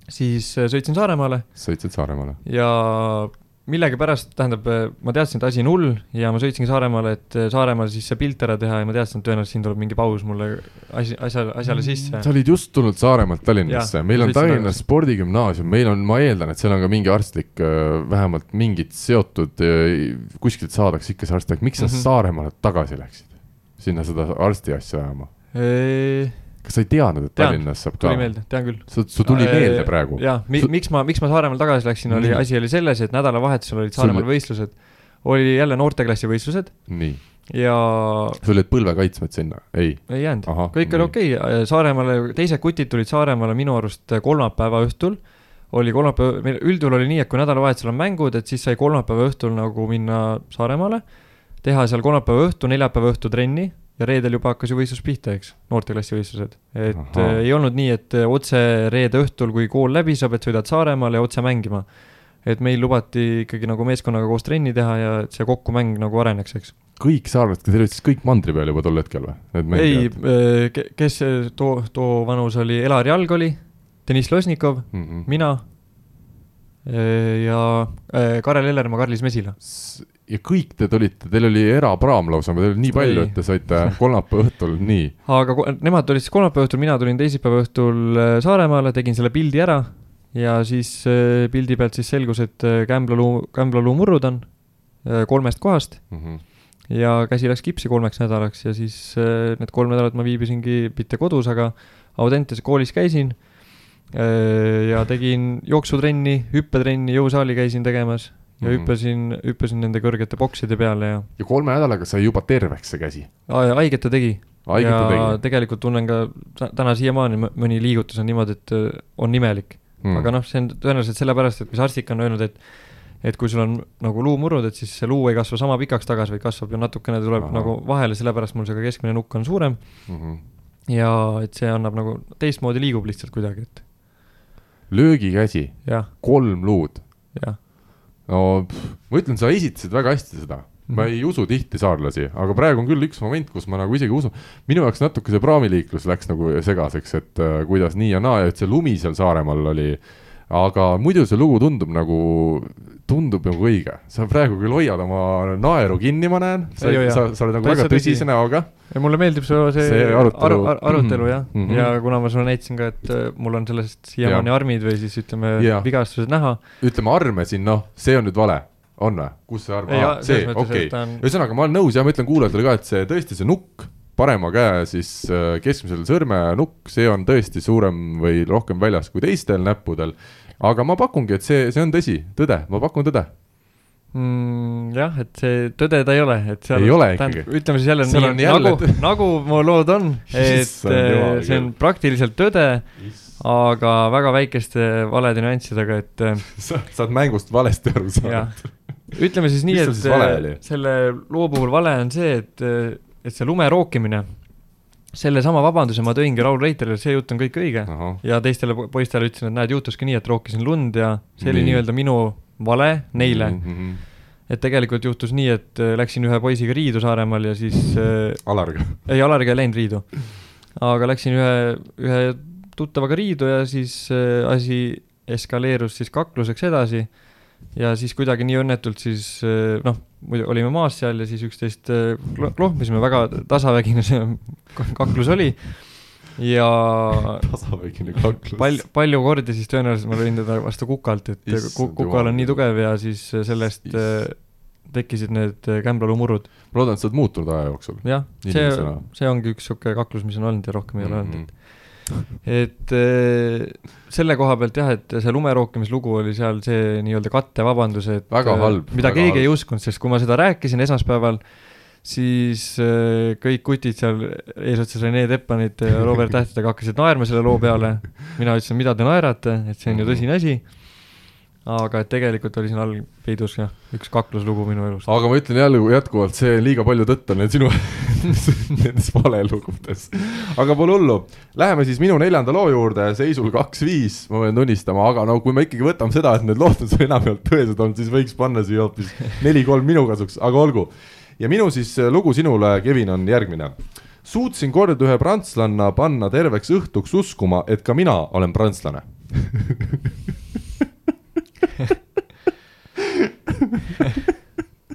Speaker 2: siis äh, sõitsin Saaremaale
Speaker 1: sõitsid Saaremaale .
Speaker 2: ja millegipärast , tähendab , ma teadsin , et asi on hull ja ma sõitsingi Saaremaale , et äh, Saaremaal siis see pilt ära teha ja ma teadsin , et tõenäoliselt siin tuleb mingi paus mulle asi , asjale , asjale sisse .
Speaker 1: Mm, sa olid just tulnud Saaremaalt Tallinnasse ,
Speaker 2: Jah,
Speaker 1: meil on
Speaker 2: sõitsin
Speaker 1: Tallinna
Speaker 2: tagasi.
Speaker 1: spordigümnaasium , meil on , ma eeldan , et seal on ka mingi arstlik , vähemalt mingid seotud , kuskilt saadakse ikka see arst , miks sa mm
Speaker 2: Mhm.
Speaker 1: -hmm. Saaremaale tagasi läksid ? sinna seda arsti asja ajama .
Speaker 2: tuli
Speaker 1: kas sa ei teadnud , et
Speaker 2: Tean,
Speaker 1: Tallinnas saab ka ?
Speaker 2: Äh, meelde , Äh, tean küll .
Speaker 1: sa , sul tuli meelde praegu ? Mm.
Speaker 2: jaa , mi- ,
Speaker 1: Su-
Speaker 2: miks ma , miks ma Saaremaal tagasi läksin , oli ,
Speaker 1: Nii.
Speaker 2: asi oli selles , et nädalavahetusel olid
Speaker 1: Sul-
Speaker 2: Saaremaal võistlused . oli jälle noorteklassi võistlused
Speaker 1: nii ,
Speaker 2: ja
Speaker 1: sul olid põlvekaitsmed sinna , ei ?
Speaker 2: ei jäänud ,
Speaker 1: Ahah,
Speaker 2: kõik oli okei okay. , Saaremaale , teised kutid tulid Saaremaale minu arust äh, kolmapäeva õhtul . oli kolmapäev , meil üldjuhul oli nii , et kui nädalavahetusel on mängud , et siis sai kolmapäeva õhtul nagu minna Saaremaale , teha seal kolmapäeva õhtu , neljapäeva õhtu trenni ja reedel juba hakkas ju võistlus pihta , eks , noorteklassi võistlused . et
Speaker 1: Ahah.
Speaker 2: äh, ei olnud nii , et äh, otse reede õhtul , kui kool läbi saab , et sõidad Saaremaale ja otse mängima . et meil lubati ikkagi nagu meeskonnaga koos trenni teha ja et see kokkumäng nagu areneks , eks .
Speaker 1: kõik saarlased , kas teil olid siis kõik mandri peal juba tol hetkel või ?
Speaker 2: ei , kes see too , too vanus oli , Elari Alg oli , Deniss Losnikov ,
Speaker 1: mina .
Speaker 2: mina eh, ja eh, Karel Ellermaa , Karlis Mesila .
Speaker 1: ja kõik te tulite , teil oli erapraam lausa , teil oli nii palju ,
Speaker 2: Ei.
Speaker 1: et te saite kolmapäeva õhtul , nii .
Speaker 2: aga ko- nemad tulid siis kolmapäeva õhtul , mina tulin teisipäeva õhtul eh, Saaremaale , tegin selle pildi ära ja siis eh, pildi pealt siis selgus , et eh, kämblaluu , kämblaluu murrud on eh, kolmest kohast ja käsi läks kipsi kolmeks nädalaks ja siis eh, need kolm nädalat ma viibisingi mitte kodus , aga Audentes koolis käisin eh, ja tegin jooksutrenni , hüppetrenni , jõusaali käisin tegemas ja
Speaker 1: Mhm.
Speaker 2: hüppasin , hüppasin nende kõrgete bokside peale ja
Speaker 1: ja kolme nädalaga sai juba terveks see käsi .
Speaker 2: Aa, ja haiget ta tegi .
Speaker 1: haiget
Speaker 2: ja
Speaker 1: ta tegi
Speaker 2: tegelikult tunnen ka tä- täna siiamaani mõ- mõni liigutus on niimoodi , et eh, on imelik
Speaker 1: mm.
Speaker 2: aga . noh , see on tõenäoliselt sellepärast , et mis arstik on öelnud , et et kui sul on nagu luumurrud , et siis see luu ei kasva sama pikaks tagasi , vaid kasvab ju natukene , tuleb
Speaker 1: Ahah.
Speaker 2: Aha. nagu vahele , sellepärast mul see ka keskmine nukk on suurem
Speaker 1: Mm -hmm.
Speaker 2: ja et see annab nagu teistmoodi liigub lihtsalt kuidagi , et
Speaker 1: löögikäsi ,
Speaker 2: jah ,
Speaker 1: kolm luud .
Speaker 2: jah .
Speaker 1: no pff, ma ütlen , sa esitasid väga hästi seda . ma ei usu tihti saarlasi , aga praegu on küll üks moment , kus ma nagu isegi usun . minu jaoks natuke see praamiliiklus läks nagu segaseks , et äh, kuidas nii ja naa ja et see lumi seal Saaremaal oli . aga muidu see lugu tundub nagu , tundub nagu õige . sa praegu küll hoiad oma naeru kinni , ma näen . sa
Speaker 2: Ei hoia. ,
Speaker 1: sa, sa oled nagu
Speaker 2: Täitsa
Speaker 1: väga
Speaker 2: tõsi.
Speaker 1: tõsise näoga .
Speaker 2: ja mulle meeldib see , see,
Speaker 1: See arutelu-
Speaker 2: aru, ar, arutelu jah mm ,
Speaker 1: Mhm.
Speaker 2: -hmm. ja kuna ma sulle näitasin ka , et äh, mul on sellest siiamaani armid või siis ütleme
Speaker 1: Jah.
Speaker 2: vigastused näha .
Speaker 1: ütleme arme siin , noh , see on nüüd vale , on või ? kus see arm , see , okei . ühesõnaga , ma olen nõus ja ma ütlen kuulajatele ka , et see tõesti see nukk , parema käe siis äh, keskmisel sõrmenukk , see on tõesti suurem või rohkem väljas kui teistel näppudel . aga ma pakungi , et see , see on tõsi , tõde , ma pakun tõde .
Speaker 2: mm, . jah , et see tõde ta ei ole , et seal
Speaker 1: Ei ole ikkagi.
Speaker 2: tähendab , ütleme siis jälle
Speaker 1: Seal
Speaker 2: nii,
Speaker 1: on jälle
Speaker 2: nagu , nagu mu lood on , et
Speaker 1: Issand jumal
Speaker 2: eh, see on
Speaker 1: küll.
Speaker 2: praktiliselt tõde , aga väga väikeste valede nüanssidega , et eh,
Speaker 1: sa saad mängust valesti aru saada .
Speaker 2: jah , ütleme siis nii ,
Speaker 1: Mis sul
Speaker 2: et
Speaker 1: siis vale
Speaker 2: eh,
Speaker 1: oli?
Speaker 2: selle loo puhul vale on see , et , et see lume rookimine , sellesama vabanduse ma tõingi Raul Reiterile , see jutt on kõik õige
Speaker 1: Ah.
Speaker 2: ja teistele po- poistele ütlesin , et näed , juhtuski nii , et rookisin lund ja see oli
Speaker 1: Nii. Mm.
Speaker 2: nii-öelda minu vale neile .
Speaker 1: Mhm,
Speaker 2: et tegelikult juhtus nii , et äh, läksin ühe poisiga riidu Saaremaal ja siis äh, ,
Speaker 1: Alariga .
Speaker 2: ei Alariga ei läinud riidu , aga läksin ühe , ühe tuttavaga riidu ja siis äh, asi eskaleerus siis kakluseks edasi ja siis kuidagi nii õnnetult siis äh, noh , muidu olime maas seal ja siis üksteist äh, klo- klohmisime , väga tasavägine see k- kaklus oli ja
Speaker 1: tasavägine kaklus .
Speaker 2: palju , palju kordi siis tõenäoliselt ma lõin teda vastu kukalt , et
Speaker 1: Issand
Speaker 2: ku-
Speaker 1: jumal.
Speaker 2: kukal on nii tugev ja siis sellest
Speaker 1: Iss-
Speaker 2: äh, tekkisid need äh, kämblalumurud ,
Speaker 1: ma loodan , et sa oled muutunud aja jooksul .
Speaker 2: jah , see
Speaker 1: Inimesena. , Mhm.
Speaker 2: see ongi üks sihuke kaklus , mis on olnud ja rohkem ei ole olnud , et . et eh, selle koha pealt jah , et see lumerookimislugu oli seal see nii-öelda kattevabandus , et
Speaker 1: Väga
Speaker 2: eh,
Speaker 1: halb,
Speaker 2: mida
Speaker 1: väga
Speaker 2: keegi
Speaker 1: halb.
Speaker 2: ei uskunud , sest kui ma seda rääkisin esmaspäeval , siis eh, kõik kutid seal eesotsas Rene Teppanit ja Robert Tähtedega hakkasid naerma selle loo peale . mina ütlesin , mida te naerate , et see on ju tõsine asi . aga et tegelikult oli siin all peidus jah , üks kakluslugu minu elust .
Speaker 1: aga ma ütlen jälle jätkuvalt , see liiga palju tõtt on need sinu nendes valelugudes . aga pole hullu , läheme siis minu neljanda loo juurde , seisul kaks-viis , ma pean tunnistama , aga no kui me ikkagi võtame seda , et need lood on sul enamjaolt tõesed olnud , siis võiks panna siia hoopis neli-kolm minu kasuks , aga olgu . ja minu siis äh, lugu sinule , Kevin , on järgmine suutsin kord ühe prantslanna panna terveks õhtuks uskuma , et ka mina olen prantslane .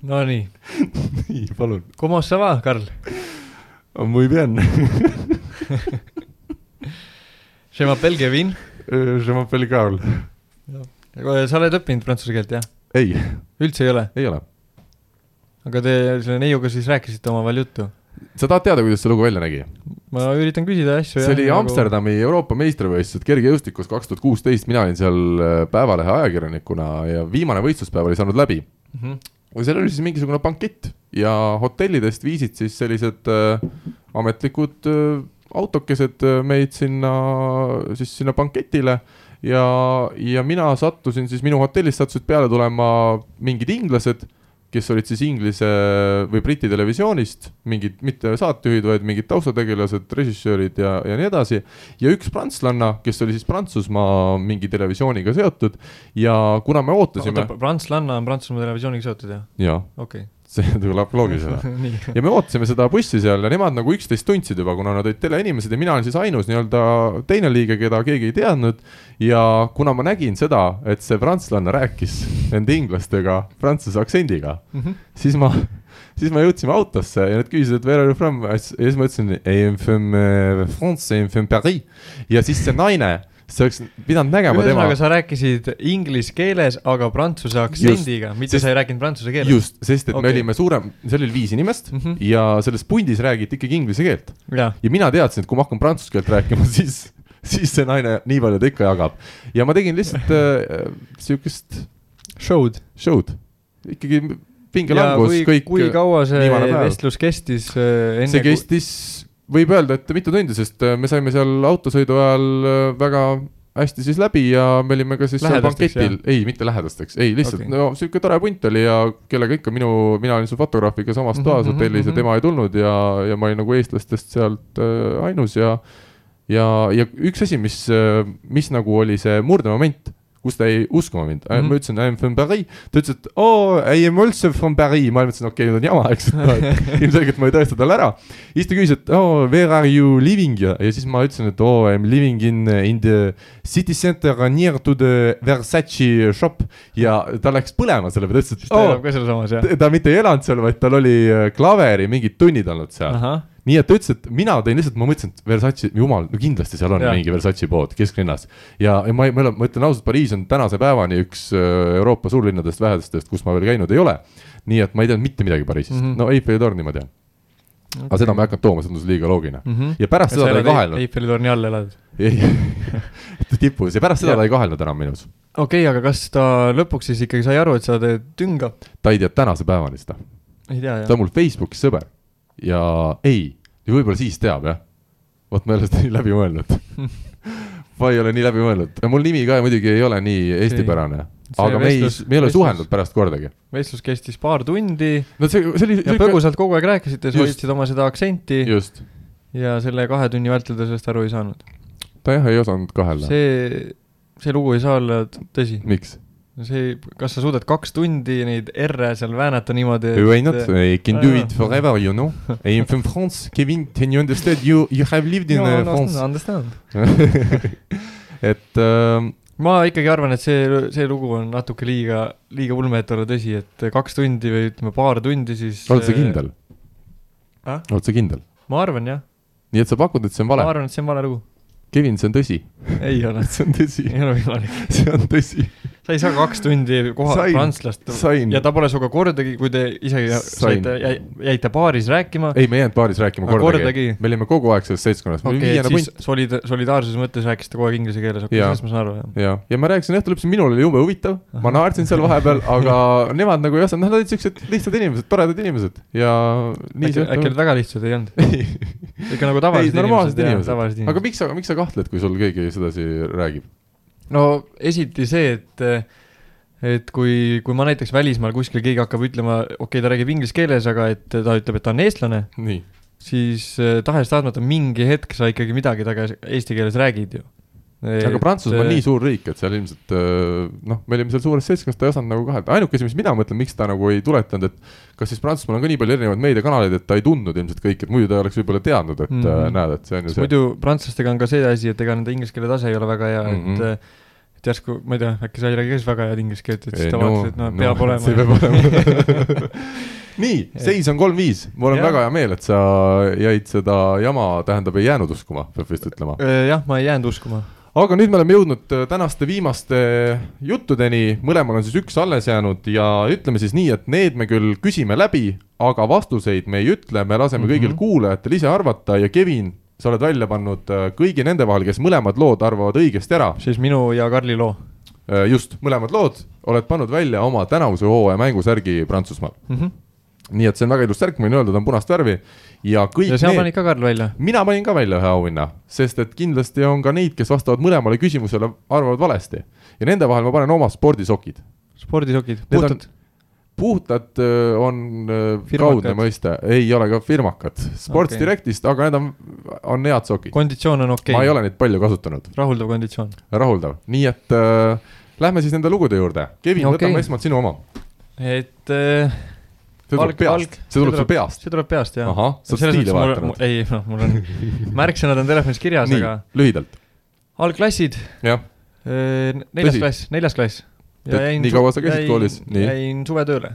Speaker 2: Nonii ,
Speaker 1: nii , palun .
Speaker 2: como sa va , Karl ?
Speaker 1: Muy bien .
Speaker 2: Je m'appelle Kevin .
Speaker 1: Euh, Je m'appelle Karl .
Speaker 2: sa oled õppinud prantsuse keelt , jah ?
Speaker 1: ei ,
Speaker 2: üldse ei ole ?
Speaker 1: ei ole .
Speaker 2: aga te selle neiuga siis rääkisite omavahel juttu ?
Speaker 1: sa tahad teada , kuidas see lugu välja nägi ?
Speaker 2: ma üritan küsida asju . nagu-
Speaker 1: see oli Amsterdami Euroopa meistrivõistlused kergejõustikus kaks tuhat kuusteist , mina olin seal äh, Päevalehe ajakirjanikuna ja viimane võistluspäev oli saanud läbi .
Speaker 2: mm . -hmm.
Speaker 1: seal oli siis mingisugune bankett ja hotellidest viisid siis sellised äh, ametlikud äh, autokesed äh, meid sinna , siis sinna banketile ja , ja mina sattusin siis , minu hotellis sattusid peale tulema mingid inglased , kes olid siis Inglise või Briti televisioonist mingid , mitte saatejuhid , vaid mingid taustategelased , režissöörid ja , ja nii edasi . ja üks prantslanna , kes oli siis Prantsusmaa mingi televisiooniga seotud ja kuna me ootasime
Speaker 2: oota ,, prantslanna on Prantsusmaa televisiooniga seotud jah ?
Speaker 1: jaa ,
Speaker 2: okei
Speaker 1: see tuleb loogiline .
Speaker 2: okay. .
Speaker 1: ja me ootasime seda bussi seal ja nemad nagu üksteist tundsid juba , kuna nad olid teleinimesed ja mina olin siis ainus nii-öelda teine liige , keda keegi ei teadnud . ja kuna ma nägin seda , et see prantslanna rääkis nende inglastega prantsuse aktsendiga ,
Speaker 2: Mhm.
Speaker 1: siis ma , siis me jõudsime autosse ja nad küsisid , et where are you from ja siis ma ütlesin I am from äh, France , I am from Paris ja siis see naine , sa oleks pidanud nägema tema
Speaker 2: ühesõnaga , sa rääkisid inglise keeles , aga prantsuse aktsendiga , mitte
Speaker 1: sest-
Speaker 2: sa ei rääkinud prantsuse keeles .
Speaker 1: just , sest et okay. me
Speaker 2: Okei.
Speaker 1: olime suurem , seal oli viis inimest mm
Speaker 2: Mhm.
Speaker 1: -hmm. ja selles pundis räägiti ikkagi inglise keelt .
Speaker 2: jah ,
Speaker 1: ja mina teadsin , et kui ma hakkan prantsuse keelt rääkima , siis , siis see naine nii palju ta ikka jagab . ja ma tegin lihtsalt äh, sihukest
Speaker 2: show'd .
Speaker 1: show'd , ikkagi
Speaker 2: ja
Speaker 1: pingelangus
Speaker 2: kui ,
Speaker 1: kõik .
Speaker 2: kui kaua see
Speaker 1: viimane päev.
Speaker 2: vestlus kestis äh, enne
Speaker 1: see kestis , võib öelda , et mitu tundi , sest äh, me saime seal autosõidu ajal äh, väga hästi siis läbi ja me olime ka siis seal
Speaker 2: Lähedasteks,
Speaker 1: banketil , ei , mitte lähedastest , ei lihtsalt
Speaker 2: Okei.
Speaker 1: okay. no sihuke tore punt oli ja kellega ikka minu , mina olin seal fotograafiga samas
Speaker 2: Mhm,
Speaker 1: toas
Speaker 2: mhm,
Speaker 1: hotellis ja
Speaker 2: mhm.
Speaker 1: tema ei tulnud ja , ja ma olin nagu eestlastest sealt äh, ainus ja ja , ja üks asi , mis , mis nagu oli see murdemoment , kus ta ei uskuma mind mm ,
Speaker 2: Mhm.
Speaker 1: -hmm. ma ütlesin I am from Paris , ta ütles , et oo , I am also from Paris , ma mõtlesin , okei okay, , nüüd on jama , eks , et ilmselgelt ma ei tõesta talle ära . siis ta küsis , et oo , where are you living ja ja siis ma ütlesin , et oo , I am living in , in the city center near to the Versace shop ja ta läks põlema selle peale , ta ütles , et
Speaker 2: kui... ? ta
Speaker 1: oo
Speaker 2: elab , Oh! ka sealsamas jah ?
Speaker 1: ta mitte ei elanud seal , vaid tal oli äh, klaveri mingid tunnid olnud seal
Speaker 2: ahah ,
Speaker 1: nii et ta ütles , et mina tõin lihtsalt , ma mõtlesin , et Versace , jumal , no kindlasti seal on ja.
Speaker 2: Jaa.
Speaker 1: mingi Versace pood kesklinnas . ja , ja ma ei , ma ei ole , ma ütlen ausalt , Pariis on tänase päevani üks öö, Euroopa suurlinnadest vähestest , kus ma veel käinud ei ole . nii et ma ei teadnud mitte midagi Pariisist mm ,
Speaker 2: Mhm.
Speaker 1: -hmm. no Eiffeli torni ma tean okay. , aga seda ma ei hakanud tooma , see tundus liiga loogiline .
Speaker 2: -hmm.
Speaker 1: ja pärast seda ta ei kahelnud ,
Speaker 2: Eiffeli torni all elad .
Speaker 1: ei , tipus ja pärast seda
Speaker 2: Jah.
Speaker 1: ta ei kahelnud enam minus .
Speaker 2: okei okay, , aga kas ta lõpuks siis ikkagi sai aru , et sa teed tünga ?
Speaker 1: ta ei tea tänase päevani seda ,
Speaker 2: ei tea jah
Speaker 1: ta ? on mul Facebookis sõber ja ei , võib-olla siis teab jah . vot ma ei ole seda nii läbi mõelnud . ma ei ole nii läbi mõelnud , mul nimi ka muidugi ei ole nii eestipärane ,
Speaker 2: See
Speaker 1: aga me ei
Speaker 2: vestlus- ,
Speaker 1: me ei ole
Speaker 2: vestlus-
Speaker 1: suhelnud pärast kordagi .
Speaker 2: vestlus kestis paar tundi
Speaker 1: no see , see oli
Speaker 2: ja . põgusalt kogu aeg rääkisite , sa
Speaker 1: Just.
Speaker 2: hoidsid oma seda aktsenti just.
Speaker 1: just ,
Speaker 2: ja selle kahe tunni vältel ta sellest aru ei saanud .
Speaker 1: ta jah ei osanud kahelda .
Speaker 2: see , see lugu ei saa olla t- tõsi .
Speaker 1: miks ?
Speaker 2: see , kas sa suudad kaks tundi neid R-e seal väänata niimoodi ,
Speaker 1: Why not ? I can do it
Speaker 2: Ah.
Speaker 1: forever , you know . I am from France , Kevin , can you understand ? You , you have lived in
Speaker 2: no,
Speaker 1: uh,
Speaker 2: no,
Speaker 1: France .
Speaker 2: understand .
Speaker 1: et ähm,
Speaker 2: ma ikkagi arvan , et see , see lugu on natuke liiga , liiga ulme , et olla tõsi , et kaks tundi või ütleme , paar tundi , siis
Speaker 1: oled sa ? kindel ?
Speaker 2: Ah?
Speaker 1: oled sa kindel ?
Speaker 2: ma arvan jah ,
Speaker 1: nii et sa pakud , et see on
Speaker 2: ma
Speaker 1: vale ?
Speaker 2: arvan , et see on vale lugu .
Speaker 1: Kevin , see on tõsi .
Speaker 2: ei ole ,
Speaker 1: see on tõsi
Speaker 2: ei ole võimalik .
Speaker 1: see on tõsi .
Speaker 2: sa ei saa kaks tundi koha
Speaker 1: Sain,
Speaker 2: prantslast
Speaker 1: sain.
Speaker 2: ja ta pole sinuga kordagi , kui te isegi
Speaker 1: Sain.
Speaker 2: saite , jäite baaris rääkima .
Speaker 1: ei , me ei jäänud baaris rääkima
Speaker 2: Aga
Speaker 1: kordagi,
Speaker 2: kordagi?
Speaker 1: me olime kogu aeg selles seltskonnas , me olime
Speaker 2: okei , et
Speaker 1: viiene
Speaker 2: siis
Speaker 1: punt
Speaker 2: solid- , solidaarsuse mõttes rääkisite kogu aeg inglise keeles , okei ,
Speaker 1: Jaa.
Speaker 2: sellest ma saan aru , jah .
Speaker 1: ja , ja ma rääkisin õhtul lõpus , minul oli jube huvitav , ma naersin seal vahepeal , aga nemad nagu ei osanud , nad olid siuksed lihtsad inimesed , toredad inimesed ja nii
Speaker 2: äkki , äkki
Speaker 1: õhtu-
Speaker 2: olid väga lihtsad ei olnud ? ikka nagu tavalised
Speaker 1: ei , normaalsed
Speaker 2: inimesed ,
Speaker 1: inimesed
Speaker 2: tavalised ,
Speaker 1: aga
Speaker 2: inimesed .
Speaker 1: miks sa , miks sa kahtled , kui sul keegi sedasi räägib ?
Speaker 2: no esiti see , et et kui , kui ma näiteks välismaal kuskil keegi hakkab ütlema , okei okay, , ta räägib inglise keeles , aga et ta ütleb , et ta on eestlane ,
Speaker 1: nii ,
Speaker 2: siis eh, tahes-tahtmata mingi hetk sa ikkagi midagi taga eesti keeles räägid ju .
Speaker 1: aga Prantsusmaa on nii suur riik , et seal ilmselt öö, noh , me olime seal suures seltskonnas , ta ei osanud nagu kahelda , ainuke asi , mis mina mõtlen , miks ta nagu ei tuletanud , et kas siis Prantsusmaal on ka nii palju erinevaid meediakanaleid , et ta ei tundnud ilmselt kõiki , et muidu ta oleks võib-olla teadnud , et mm
Speaker 2: Mhm.
Speaker 1: -hmm. näed , et see on ju
Speaker 2: sest
Speaker 1: see .
Speaker 2: muidu prantslastega on ka see asi , et ega nende inglise keele tase ei ole väga hea mm ,
Speaker 1: Mhm.
Speaker 2: -hmm. et et järsku , ma ei tea , äkki sa ei räägi ka siis väga head inglise keelt , et
Speaker 1: Ei,
Speaker 2: siis ta vaatas , et noh , peab olema .
Speaker 1: see peab olema . nii , seis on kolm-viis , mul on
Speaker 2: Jah.
Speaker 1: väga hea meel , et sa jäid seda jama , tähendab , ei jäänud uskuma , peab vist ütlema .
Speaker 2: Äh, jah , ma ei jäänud uskuma .
Speaker 1: aga nüüd me oleme jõudnud äh, tänaste viimaste juttudeni , mõlemal on siis üks alles jäänud ja ütleme siis nii , et need me küll küsime läbi , aga vastuseid me ei ütle , me laseme mm -hmm. kõigil
Speaker 2: Mhm.
Speaker 1: kuulajatel ise arvata ja Kevin , sa oled välja pannud äh, kõigi nende vahel , kes mõlemad lood arvavad õigesti ära ,
Speaker 2: siis minu ja Karli loo
Speaker 1: just , mõlemad lood oled pannud välja oma tänavuse hooaja mängusärgi Prantsusmaal .
Speaker 2: mm . -hmm.
Speaker 1: nii et see on väga ilus särk , ma võin öelda , ta on punast värvi ja kõik
Speaker 2: ja sina
Speaker 1: need
Speaker 2: panid ka Karl välja .
Speaker 1: mina panin ka välja ühe auhinna , sest et kindlasti on ka neid , kes vastavad mõlemale küsimusele , arvavad valesti . ja nende vahel ma panen oma spordisokid .
Speaker 2: spordisokid ,
Speaker 1: Need on-
Speaker 2: puhtad .
Speaker 1: puhtad öö, on öö,
Speaker 2: Firmakad.
Speaker 1: kaudne mõiste , ei ole ka firmakad , Sports
Speaker 2: Okei.
Speaker 1: okay. Directist , aga need on , on head sokid .
Speaker 2: konditsioon on okei
Speaker 1: ma ei
Speaker 2: okay. ,
Speaker 1: ole neid palju kasutanud ,
Speaker 2: rahuldav konditsioon .
Speaker 1: rahuldav , nii et öö, lähme siis nende lugude juurde . Kevin okay. ,
Speaker 2: Okei.
Speaker 1: võtame esmalt sinu oma .
Speaker 2: et äh,
Speaker 1: see tuleb
Speaker 2: Valk-
Speaker 1: peast
Speaker 2: valk- ,
Speaker 1: see tuleb
Speaker 2: see
Speaker 1: sul peast .
Speaker 2: see tuleb peast jah .
Speaker 1: ahah , sa oled stiili vahetanud .
Speaker 2: ei noh , mul on märksõnad on telefonis kirjas ,
Speaker 1: nii
Speaker 2: aga ,
Speaker 1: lühidalt ,
Speaker 2: algklassid ,
Speaker 1: jah ,
Speaker 2: Äh, neljas
Speaker 1: Tõsi?
Speaker 2: klass , neljas klass .
Speaker 1: Et nii kaua sa käisid koolis? Nii.
Speaker 2: jäin suvetööle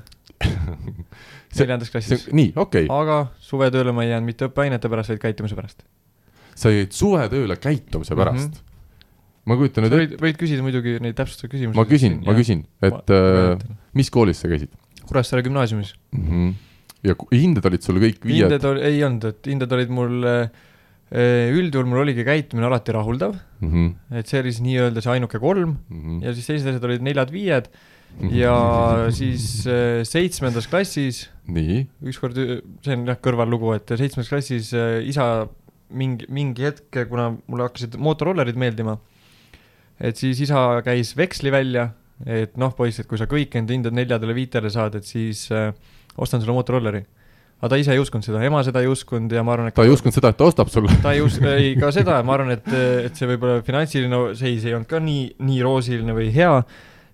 Speaker 1: See-
Speaker 2: neljandas klassis ,
Speaker 1: nii , okei okay. ,
Speaker 2: aga suvetööle ma ei jäänud mitte õppeainete pärast , vaid käitumise pärast .
Speaker 1: sa jäid suvetööle käitumise
Speaker 2: Mhm.
Speaker 1: pärast mm . -hmm. ma kujutan nüüd ette ,
Speaker 2: võid , võid küsida muidugi neid täpsustavaid küsimusi .
Speaker 1: ma küsin , ma . küsin , et äh, mis koolis sa käisid
Speaker 2: Kuressaare gümnaasiumis .
Speaker 1: mm ? -hmm. ja ku- hinded olid sul kõik viied
Speaker 2: Mhm. hinded ol- , ei olnud , et hinded olid mul , üldjuhul mul oligi käitumine alati rahuldav ,
Speaker 1: mm ? -hmm.
Speaker 2: et see oli siis nii-öelda see ainuke kolm
Speaker 1: Mm
Speaker 2: ja siis teised asjad olid neljad-viied
Speaker 1: Mhm.
Speaker 2: ja siis äh, seitsmendas klassis ,
Speaker 1: nii ,
Speaker 2: ükskord , see on jah kõrvallugu , et seitsmendas klassis äh, isa mingi , mingi hetk , kuna mulle hakkasid mootorrollerid meeldima , et siis isa käis veksli välja , et noh , poiss , et kui sa kõik enda hinded neljadele-viitele saad , et siis äh, ostan sulle mootorrolleri . aga ta ise ei uskunud seda , ema seda ei uskunud ja ma arvan , et
Speaker 1: ta ei uskunud seda , et ta ostab sulle
Speaker 2: ta ei usk- , ei ka seda , ma arvan , et , et see võib-olla finantsiline seis ei olnud ka nii , nii roosiline või hea ,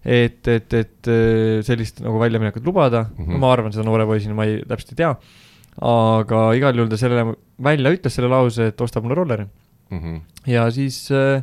Speaker 2: et , et , et eh, sellist nagu väljaminekut lubada mm ,
Speaker 1: Mhm.
Speaker 2: -hmm. ma arvan seda noore poisina , ma ei , täpselt ei tea , aga igal juhul ta selle välja ütles , selle lause , et ostab mulle rolleri
Speaker 1: mm . -hmm.
Speaker 2: ja siis äh,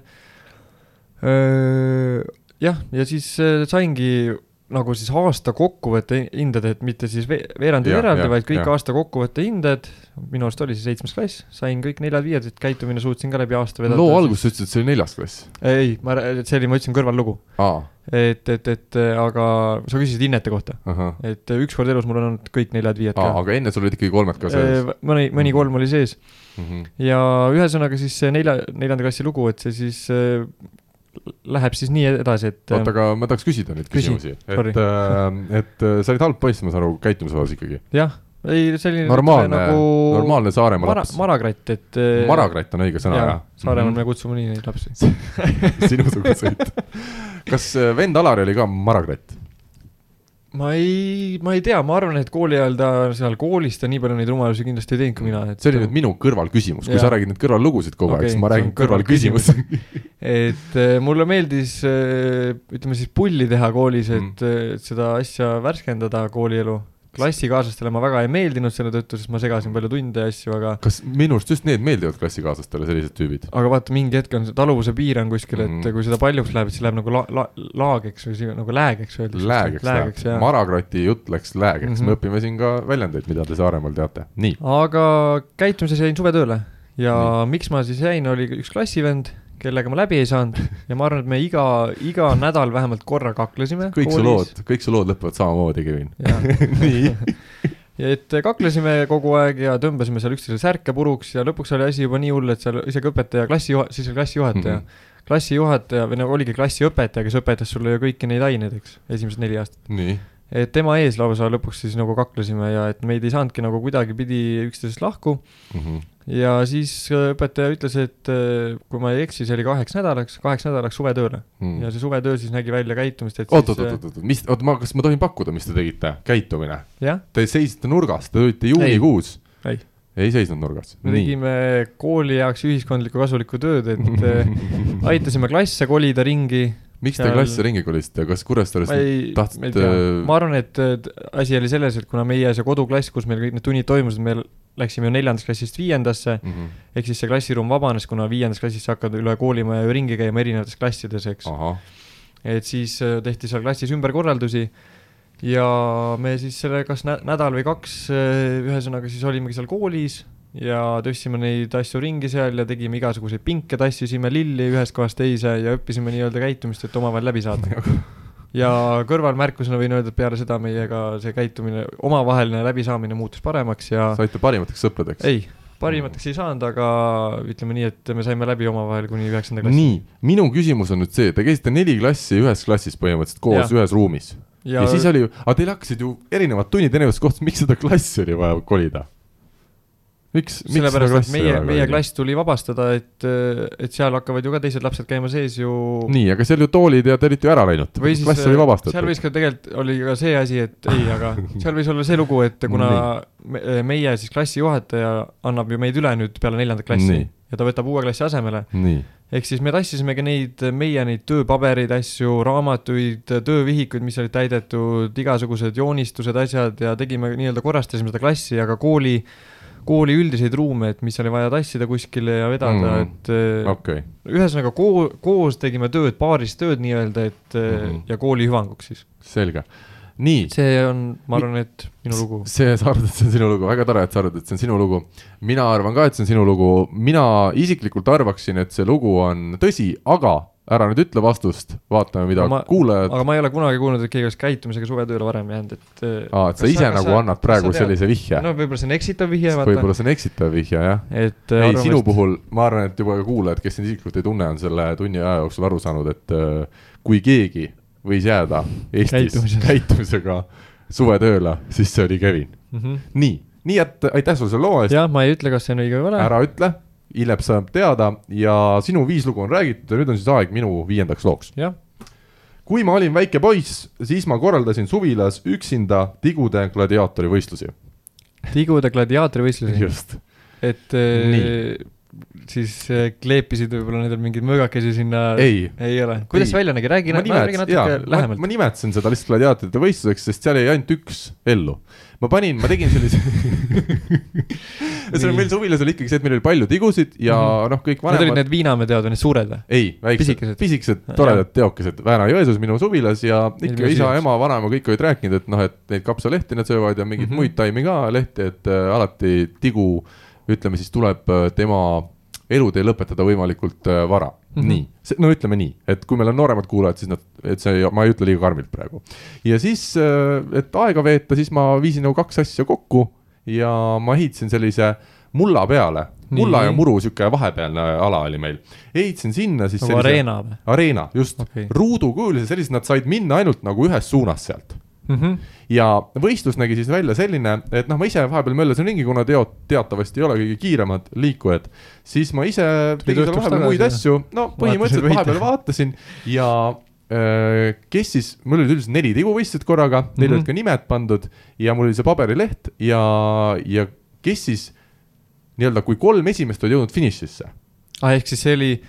Speaker 2: äh, jah , ja siis äh, saingi nagu siis aasta kokkuvõtte hinded , et mitte siis ve- veerandi
Speaker 1: Jah,
Speaker 2: eraldi
Speaker 1: jah, ,
Speaker 2: vaid kõik
Speaker 1: jah.
Speaker 2: ja. aasta kokkuvõtte hinded , minu arust oli see seitsmes klass , sain kõik neljad-viied , et käitumine suutsin ka läbi aasta vedada .
Speaker 1: loo alguses sa ütlesid , et see oli neljas klass .
Speaker 2: ei , ma , see oli , ma ütlesin kõrvallugu ,
Speaker 1: aa ,
Speaker 2: et , et , et äh, aga sa küsisid hinnete kohta ,
Speaker 1: ahah ,
Speaker 2: et äh, ükskord elus mul on olnud kõik neljad-viied
Speaker 1: aa ,
Speaker 2: ka .
Speaker 1: aga enne sul olid ikkagi kolmed ka sees
Speaker 2: mõni , mõni
Speaker 1: Mhm.
Speaker 2: kolm oli sees
Speaker 1: mm . -hmm.
Speaker 2: ja ühesõnaga siis see nelja , neljanda klassi lugu , et see siis äh, läheb siis nii edasi , et
Speaker 1: oota , aga ma tahaks küsida neid
Speaker 2: Küsi.
Speaker 1: küsimusi ,
Speaker 2: Sorry.
Speaker 1: et , et äh, sa olid halb poiss , ma saan aru , käitumise osas ikkagi .
Speaker 2: jah , ei selline
Speaker 1: normaalne
Speaker 2: nagu...
Speaker 1: nagu... , normaalne Saaremaa
Speaker 2: mara,
Speaker 1: laps .
Speaker 2: marakratt , et äh,
Speaker 1: marakratt on õige sõna ,
Speaker 2: jaa,
Speaker 1: jah ? Mhm.
Speaker 2: Saaremaal me kutsume nii neid lapsi .
Speaker 1: sinusuguseid . kas äh, vend Alari oli ka marakratt ?
Speaker 2: ma ei , ma ei tea , ma arvan , et kooli ajal ta seal koolis ta nii palju neid rumalusi kindlasti ei teinud kui mina , et
Speaker 1: see oli nüüd minu kõrvalküsimus , kui
Speaker 2: Jaa.
Speaker 1: sa räägid nüüd kõrvallugusid kogu aeg ,
Speaker 2: Okei,
Speaker 1: siis ma
Speaker 2: see
Speaker 1: räägin
Speaker 2: on kõrvalküsimus.
Speaker 1: kõrvalküsimus .
Speaker 2: et äh, mulle meeldis äh, ütleme siis pulli teha koolis , et
Speaker 1: Mhm.
Speaker 2: mm. seda asja värskendada , koolielu . klassikaaslastele ma väga ei meeldinud selle tõttu , sest ma segasin palju tunde ja asju , aga
Speaker 1: kas minu arust just need meeldivad klassikaaslastele , sellised tüübid ?
Speaker 2: aga vaata , mingi hetk on see taluvuse piir on kuskil , et mm
Speaker 1: Mhm.
Speaker 2: -hmm. kui seda paljuks läheb , et see läheb nagu la- , la- , laagiks või see- nagu läägeks öeldakse .
Speaker 1: läägeks läheb ,
Speaker 2: läägeks , jah .
Speaker 1: marakroti jutt läks läägeks mm , -hmm.
Speaker 2: Mhm.
Speaker 1: me õpime siin ka väljendeid , mida te Saaremaal teate , nii .
Speaker 2: aga käitumises jäin suvetööle ja mm. miks ma siis jäin , oli üks klassivend , kellega ma läbi ei saanud ja ma arvan , et me iga , iga nädal vähemalt korra kaklesime .
Speaker 1: kõik su lood , kõik su lood lõpevad samamoodi , Kevin .
Speaker 2: nii . ja et kaklesime kogu aeg ja tõmbasime seal üksteisele särke puruks ja lõpuks oli asi juba nii hull , et seal isegi õpetaja , klassijuha- , siis
Speaker 1: Mhm.
Speaker 2: oli klassijuhataja mm , -hmm. klassijuhataja või nagu oligi klassiõpetaja , kes õpetas sulle ju kõiki neid aineid , eks , esimesed neli aastat .
Speaker 1: nii ,
Speaker 2: et tema ees lausa lõpuks siis nagu kaklesime ja et meid ei saanudki nagu kuidagipidi üksteisest lahku
Speaker 1: Mhm.
Speaker 2: ja siis äh, õpetaja ütles , et äh, kui ma ei eksi , see oli kaheks nädalaks , kaheks nädalaks suvetööle ja
Speaker 1: oot ,
Speaker 2: see suvetöö siis nägi välja käitumist , et
Speaker 1: Mhm. Mm. oot , oot ,
Speaker 2: siis
Speaker 1: oot , oot , mis , oot , ma , kas ma tohin pakkuda , mis te tegite , käitumine ?
Speaker 2: äh, jah ,
Speaker 1: Te seisite nurgas , te olite juunikuus .
Speaker 2: Ei.
Speaker 1: ei seisnud nurgas .
Speaker 2: me
Speaker 1: nii ,
Speaker 2: tegime kooli jaoks ühiskondlikku kasulikku tööd , et äh, aitasime klasse kolida ringi ,
Speaker 1: miks te
Speaker 2: seal-
Speaker 1: klasse ringi kolisite , kas Kuressaarest
Speaker 2: ma ei , ma ei
Speaker 1: tahtsite
Speaker 2: tea , ma arvan , et äh, t- asi oli selles , et kuna meie see koduklass , kus meil kõik need tunnid toimusid , me läksime ju neljandast klassist viiendasse ,
Speaker 1: Mhm.
Speaker 2: ehk siis see klassiruum vabanes , kuna viiendas klassis sa hakkad üle koolimaja ju ringi käima erinevates klassides , eks .
Speaker 1: ahah ,
Speaker 2: et siis äh, tehti seal klassis ümberkorraldusi ja me siis selle kas nä nädal või kaks , ühesõnaga siis olimegi seal koolis ja tõstsime neid asju ringi seal ja tegime igasuguseid pinke , tassisime lilli ühest kohast teise ja õppisime nii-öelda käitumist , et omavahel läbi saada .
Speaker 1: Nagu-
Speaker 2: ja kõrvalmärkusena võin öelda , et peale seda meiega see käitumine , omavaheline läbisaamine muutus paremaks ja
Speaker 1: saite parimateks sõpradeks ?
Speaker 2: ei , parimateks ei saanud , aga ütleme nii , et me saime läbi omavahel kuni üheksanda klassi .
Speaker 1: nii , minu küsimus on nüüd see , te käisite neli klassi ühes klassis põhimõtteliselt koos
Speaker 2: Jah.
Speaker 1: ühes ruumis ja, ja siis oli , aga teil hakkasid ju erinevad tunnid erinevates kohtades , miks seda klassi oli vaja kolida ? miks , miks seda
Speaker 2: sellepärast , et
Speaker 1: klassi
Speaker 2: meie , meie
Speaker 1: kolida?
Speaker 2: klass tuli vabastada , et , et seal hakkavad ju ka teised lapsed käima sees ju .
Speaker 1: nii , aga seal ju toolid ja te olite ju ära läinud ,
Speaker 2: või siis äh,
Speaker 1: klass oli
Speaker 2: seal
Speaker 1: vabastatud .
Speaker 2: võis ka tegelikult oli ka see asi , et ei , aga seal võis olla see lugu , et kuna me, meie siis klassijuhataja annab ju meid üle nüüd peale neljandat klassi
Speaker 1: Nii.
Speaker 2: ja ta võtab uue klassi asemele ,
Speaker 1: nii ,
Speaker 2: ehk siis me tassisimegi neid , meie neid tööpabereid , asju , raamatuid , töövihikuid , mis olid täidetud , igasugused joonistused , asjad ja tegime nii-öelda korrastasime seda klassi , aga kooli , kooli üldiseid ruume , et mis oli vaja tassida kuskile ja vedada
Speaker 1: Mm.
Speaker 2: mm. , et äh,
Speaker 1: okei ,
Speaker 2: ühesõnaga koo- , koos tegime tööd , paaris tööd nii-öelda , et mm.
Speaker 1: Mhm.
Speaker 2: ja kooli hüvanguks siis .
Speaker 1: selge . nii ,
Speaker 2: see on , ma arvan , et minu lugu .
Speaker 1: see , sa arvad , et see on sinu lugu , väga tore , et sa arvad , et see on sinu lugu . mina arvan ka , et see on sinu lugu , mina isiklikult arvaksin , et see lugu on tõsi , aga ära nüüd ütle vastust , vaatame , mida
Speaker 2: Aga ma-
Speaker 1: kuulajad ,
Speaker 2: aga ma ei ole kunagi kuulnud , et keegi oleks käitumisega suvetööle varem jäänud , et äh,
Speaker 1: aa , et sa ise nagu annad praegu sellise vihje .
Speaker 2: no võib-olla see on eksitav vihje , vaata ,
Speaker 1: võib-olla see on eksitav vihje , jah .
Speaker 2: et
Speaker 1: ei ,
Speaker 2: arvamust-
Speaker 1: äh, sinu puhul ma arvan , et juba ka kuulajad , kes sind isiklikult ei tunne , on selle tunni aja jooksul aru saanud , et öö, kui keegi võis jääda Eestis
Speaker 2: Käitumisega.
Speaker 1: käitumisega suvetööle , siis see oli Kevin .
Speaker 2: mm . -hmm.
Speaker 1: nii , nii et aitäh sulle selle loo eest .
Speaker 2: jah , ma ei ütle , kas see on õige või vale .
Speaker 1: ära ütle , hiljem saab teada ja sinu viis lugu on räägitud ja nüüd on siis aeg minu viiendaks looks .
Speaker 2: jah ,
Speaker 1: kui ma olin väike poiss , siis ma korraldasin suvilas üksinda tigude gladiaatori võistlusi .
Speaker 2: tigude gladiaatorivõistlusi ,
Speaker 1: just .
Speaker 2: et äh, siis äh, kleepisid võib-olla nendel mingeid möögakesi sinna .
Speaker 1: ei .
Speaker 2: ei ole , kuidas
Speaker 1: Ei.
Speaker 2: see välja nägi , räägi ,
Speaker 1: ma
Speaker 2: räägi
Speaker 1: nimetsen , jaa
Speaker 2: natuke ,
Speaker 1: ma,
Speaker 2: lähemalt .
Speaker 1: ma nimetasin seda lihtsalt gladiaatorite võistluseks , sest seal jäi ainult üks ellu . ma panin , ma tegin sellise ühesõnaga , meil suvilas oli ikkagi see , et meil oli palju tigusid ja noh , kõik
Speaker 2: Need Mhm. olid
Speaker 1: vanemad .
Speaker 2: need Viinamäe teod või need suured või ?
Speaker 1: ei , väiksed
Speaker 2: Pisikesed. ,
Speaker 1: pisikesed
Speaker 2: Jah.
Speaker 1: toredad teokesed Vääna-Jõesuus minu suvilas ja ikka
Speaker 2: Ilmselt
Speaker 1: isa ,
Speaker 2: siiaks.
Speaker 1: ema , vanaema kõik olid rääkinud , et noh , et neid kapsalehti nad söövad ja mingeid mm
Speaker 2: Mhm.
Speaker 1: -hmm. muid taimi ka lehti , et äh, alati tigu , ütleme siis tuleb äh, tema elutee lõpetada võimalikult äh, vara mm .
Speaker 2: Mhm.
Speaker 1: -hmm. nii , no ütleme nii , et kui meil on nooremad kuulajad , siis nad , et see , ma ei ütle liiga karmilt praegu . ja siis , et aega veeta , siis ma viisin nagu kaks asja kokku ja ma ehitasin sellise mulla peale , mulla
Speaker 2: Nii.
Speaker 1: ja muru sihuke vahepealne ala oli meil . ehitasin sinna siis
Speaker 2: nagu areena või ?
Speaker 1: areena , just okay.
Speaker 2: Okei. ,
Speaker 1: ruudukujulise sellised , nad said minna ainult nagu ühes suunas sealt .
Speaker 2: Mhm.
Speaker 1: ja võistlus nägi siis välja selline , et noh , ma ise vahepeal möllasin ringi , kuna teod teatavasti ei ole kõige kiiremad liikujad , siis ma ise tegin seal
Speaker 2: õhtuks
Speaker 1: vahepeal
Speaker 2: tagasi
Speaker 1: muid
Speaker 2: ja
Speaker 1: asju , no põhimõtteliselt
Speaker 2: võite.
Speaker 1: vahepeal vaatasin ja öö, kes siis , mul olid üldiselt neli tiguvõistlust korraga , neil
Speaker 2: Mhm.
Speaker 1: olid ka nimed pandud ja mul oli see paberileht ja , ja kes siis nii-öelda , kui kolm esimest olid jõudnud finišisse
Speaker 2: aa , Ah, ehk siis see oli ,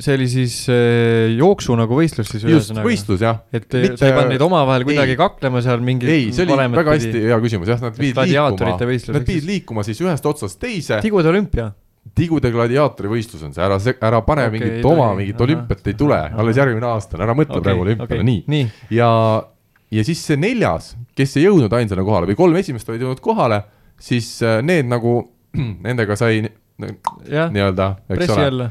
Speaker 2: see oli siis äh, jooksu nagu võistlus siis
Speaker 1: just ,
Speaker 2: ühesõnaga .
Speaker 1: võistlus jah ,
Speaker 2: et äh,
Speaker 1: mitte-
Speaker 2: sa ei pannud neid omavahel
Speaker 1: ei.
Speaker 2: kuidagi kaklema seal mingi .
Speaker 1: ei , see oli väga hästi . hea küsimus , jah , nad
Speaker 2: Et
Speaker 1: pidid
Speaker 2: gladiaatorite
Speaker 1: liikuma ,
Speaker 2: võistlus,
Speaker 1: nad
Speaker 2: ehk siis-
Speaker 1: pidid liikuma siis ühest otsast teise ,
Speaker 2: tigude olümpia .
Speaker 1: tigude gladiaatori võistlus on see , ära , ära pane
Speaker 2: Okei,
Speaker 1: okay, mingit
Speaker 2: ei tohi.
Speaker 1: oma , mingit
Speaker 2: Ahah.
Speaker 1: olümpiat ei tule ,
Speaker 2: Ahah.
Speaker 1: alles järgmine aasta on , ära mõtle okay, praegu olümpiale okay. , nii .
Speaker 2: nii ,
Speaker 1: ja , ja siis see neljas , kes ei jõudnud ainsana kohale või kolm esimest olid jõudnud kohale , siis äh, need nagu , nendega sai n-
Speaker 2: jah ,
Speaker 1: nii-öelda , eks
Speaker 2: pressi
Speaker 1: ole .
Speaker 2: alla .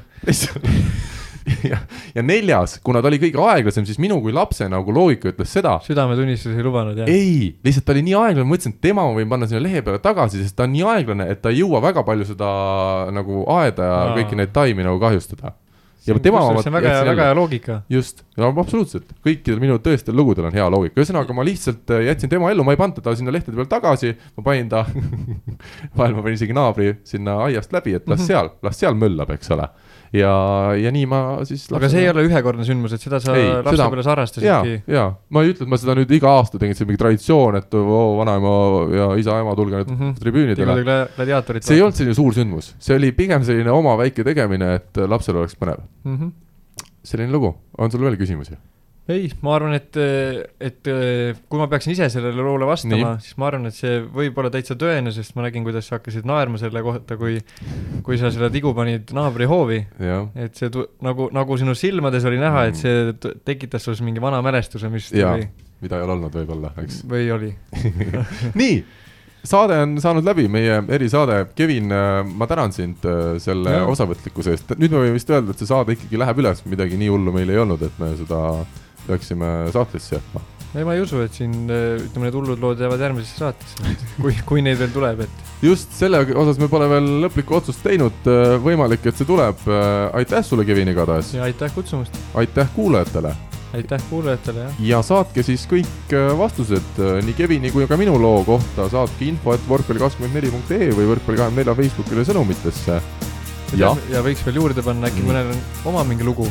Speaker 1: ja, ja neljas , kuna ta oli kõige aeglasem , siis minu kui lapse nagu loogika ütles seda ,
Speaker 2: südametunnistus ei lubanud jah ?
Speaker 1: ei , lihtsalt ta oli nii aeglane , ma mõtlesin , et tema ma võin panna sinna lehe peale tagasi , sest ta on nii aeglane , et ta ei jõua väga palju seda nagu aeda ja
Speaker 2: Aa.
Speaker 1: kõiki neid taimi nagu kahjustada . ja tema ma
Speaker 2: see on väga hea ,
Speaker 1: jätsin
Speaker 2: väga
Speaker 1: jälle-
Speaker 2: hea loogika .
Speaker 1: just , absoluutselt , kõikidel minu tõestel lugudel on hea loogika , ühesõnaga ma lihtsalt äh, jätsin tema ellu , ma ei pannud teda sinna lehtede peale tagasi , ma panin ta , vahel ma panin isegi naabri sinna aiast läbi , et
Speaker 2: Mhm.
Speaker 1: las seal , las seal möllab , eks ole . ja , ja nii ma siis .
Speaker 2: aga see ei ole ühekordne sündmus , et seda sa
Speaker 1: Ei, seda-
Speaker 2: lapsepõlves
Speaker 1: ja ,
Speaker 2: harrastasidki .
Speaker 1: ja ma ei ütle , et ma seda nüüd iga aasta tegin , see on mingi traditsioon , et oo, vanaema ja isa-ema , tulge nüüd mm
Speaker 2: Mhm.
Speaker 1: -hmm. tribüünidele .
Speaker 2: tegid gladiaatorit .
Speaker 1: see ei olnud selline suur sündmus , see oli pigem selline oma väike tegemine , et lapsel oleks põnev .
Speaker 2: olnud .
Speaker 1: selline lugu , on sul veel küsimusi ?
Speaker 2: ei , ma arvan , et , et kui ma peaksin ise sellele loole vastama , siis ma arvan , et see võib olla täitsa tõene , sest ma nägin , kuidas sa hakkasid naerma selle kohta , kui , kui sa selle tigu panid naabri hoovi .
Speaker 1: jah ,
Speaker 2: et see tu- nagu , nagu sinu silmades oli näha , et see t- tekitas sus mingi vana mälestuse , mis
Speaker 1: Jaa,
Speaker 2: tuli
Speaker 1: mida ei ole olnud võib-olla , eks .
Speaker 2: või oli .
Speaker 1: nii , saade on saanud läbi , meie erisaade , Kevin , ma tänan sind äh, selle
Speaker 2: Jaa.
Speaker 1: osavõtlikkuse eest , nüüd me võime vist öelda , et see saade ikkagi läheb üles , midagi nii hullu meil ei olnud , et me seda peaksime sahtlisse jätma .
Speaker 2: ei , ma ei usu , et siin äh, ütleme , need hullud lood jäävad järgmisesse saatesse , kui , kui neid veel tuleb , et
Speaker 1: just selle osas me pole veel lõplikku otsust teinud , võimalik , et see tuleb . aitäh sulle , Kevin , igatahes ,
Speaker 2: ja aitäh kutsumast ,
Speaker 1: aitäh kuulajatele
Speaker 2: aitäh kuulajatele ja
Speaker 1: ja saatke siis kõik äh, vastused äh, nii Kevini kui ka minu loo kohta , saatke info , et võrkpalli24.ee e või võrkpalli24 Facebookile sõnumitesse .
Speaker 2: ja,
Speaker 1: jah ,
Speaker 2: ja võiks veel juurde panna äkki
Speaker 1: Nii.
Speaker 2: mõnel on oma mingi lugu .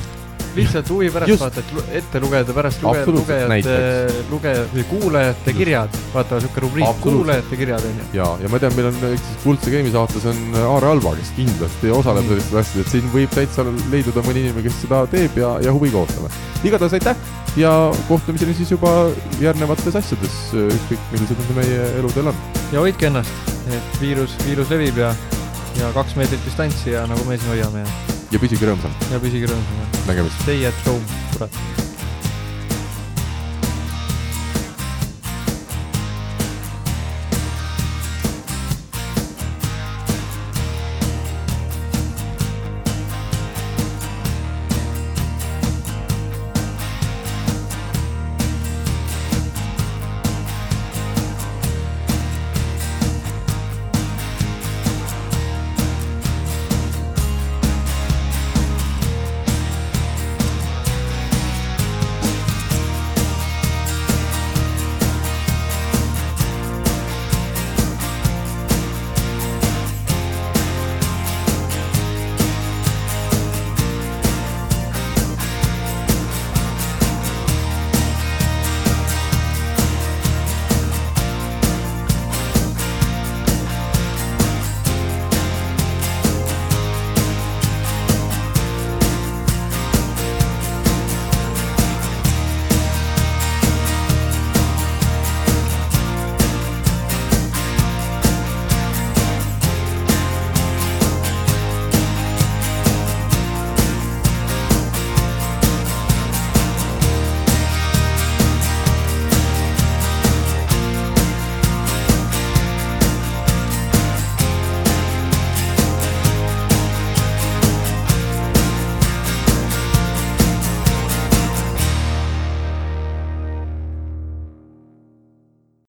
Speaker 2: lihtsalt huvi pärast
Speaker 1: Just.
Speaker 2: vaata , et lu- ette lugeda pärast luge,
Speaker 1: Absoluutselt,
Speaker 2: lugejate
Speaker 1: näiteks. ,
Speaker 2: lugeja või kuulajate
Speaker 1: Just.
Speaker 2: kirjad , vaata siuke rubriik ,
Speaker 1: Absoluutselt.
Speaker 2: kuulajate kirjad onju .
Speaker 1: ja , ja ma tean , meil on eks siis Kuldse Game'i saates on äh, Aare Alva , kes kindlasti osaleb
Speaker 2: Mm.
Speaker 1: sellistes asjades , siin võib täitsa leiduda mõni inimene , kes seda teeb ja , ja huviga ootame . igatahes aitäh ja kohtumiseni siis juba järgnevates asjades , ükskõik millised need meie eludel on .
Speaker 2: ja hoidke ennast , et viirus , viirus levib ja , ja kaks meetrit distantsi ja nagu me siin hoiame ja ,
Speaker 1: ja püsige rõõmsad ,
Speaker 2: ja püsige rõõmsana .
Speaker 1: nägemist .
Speaker 2: Stay at home , kurat .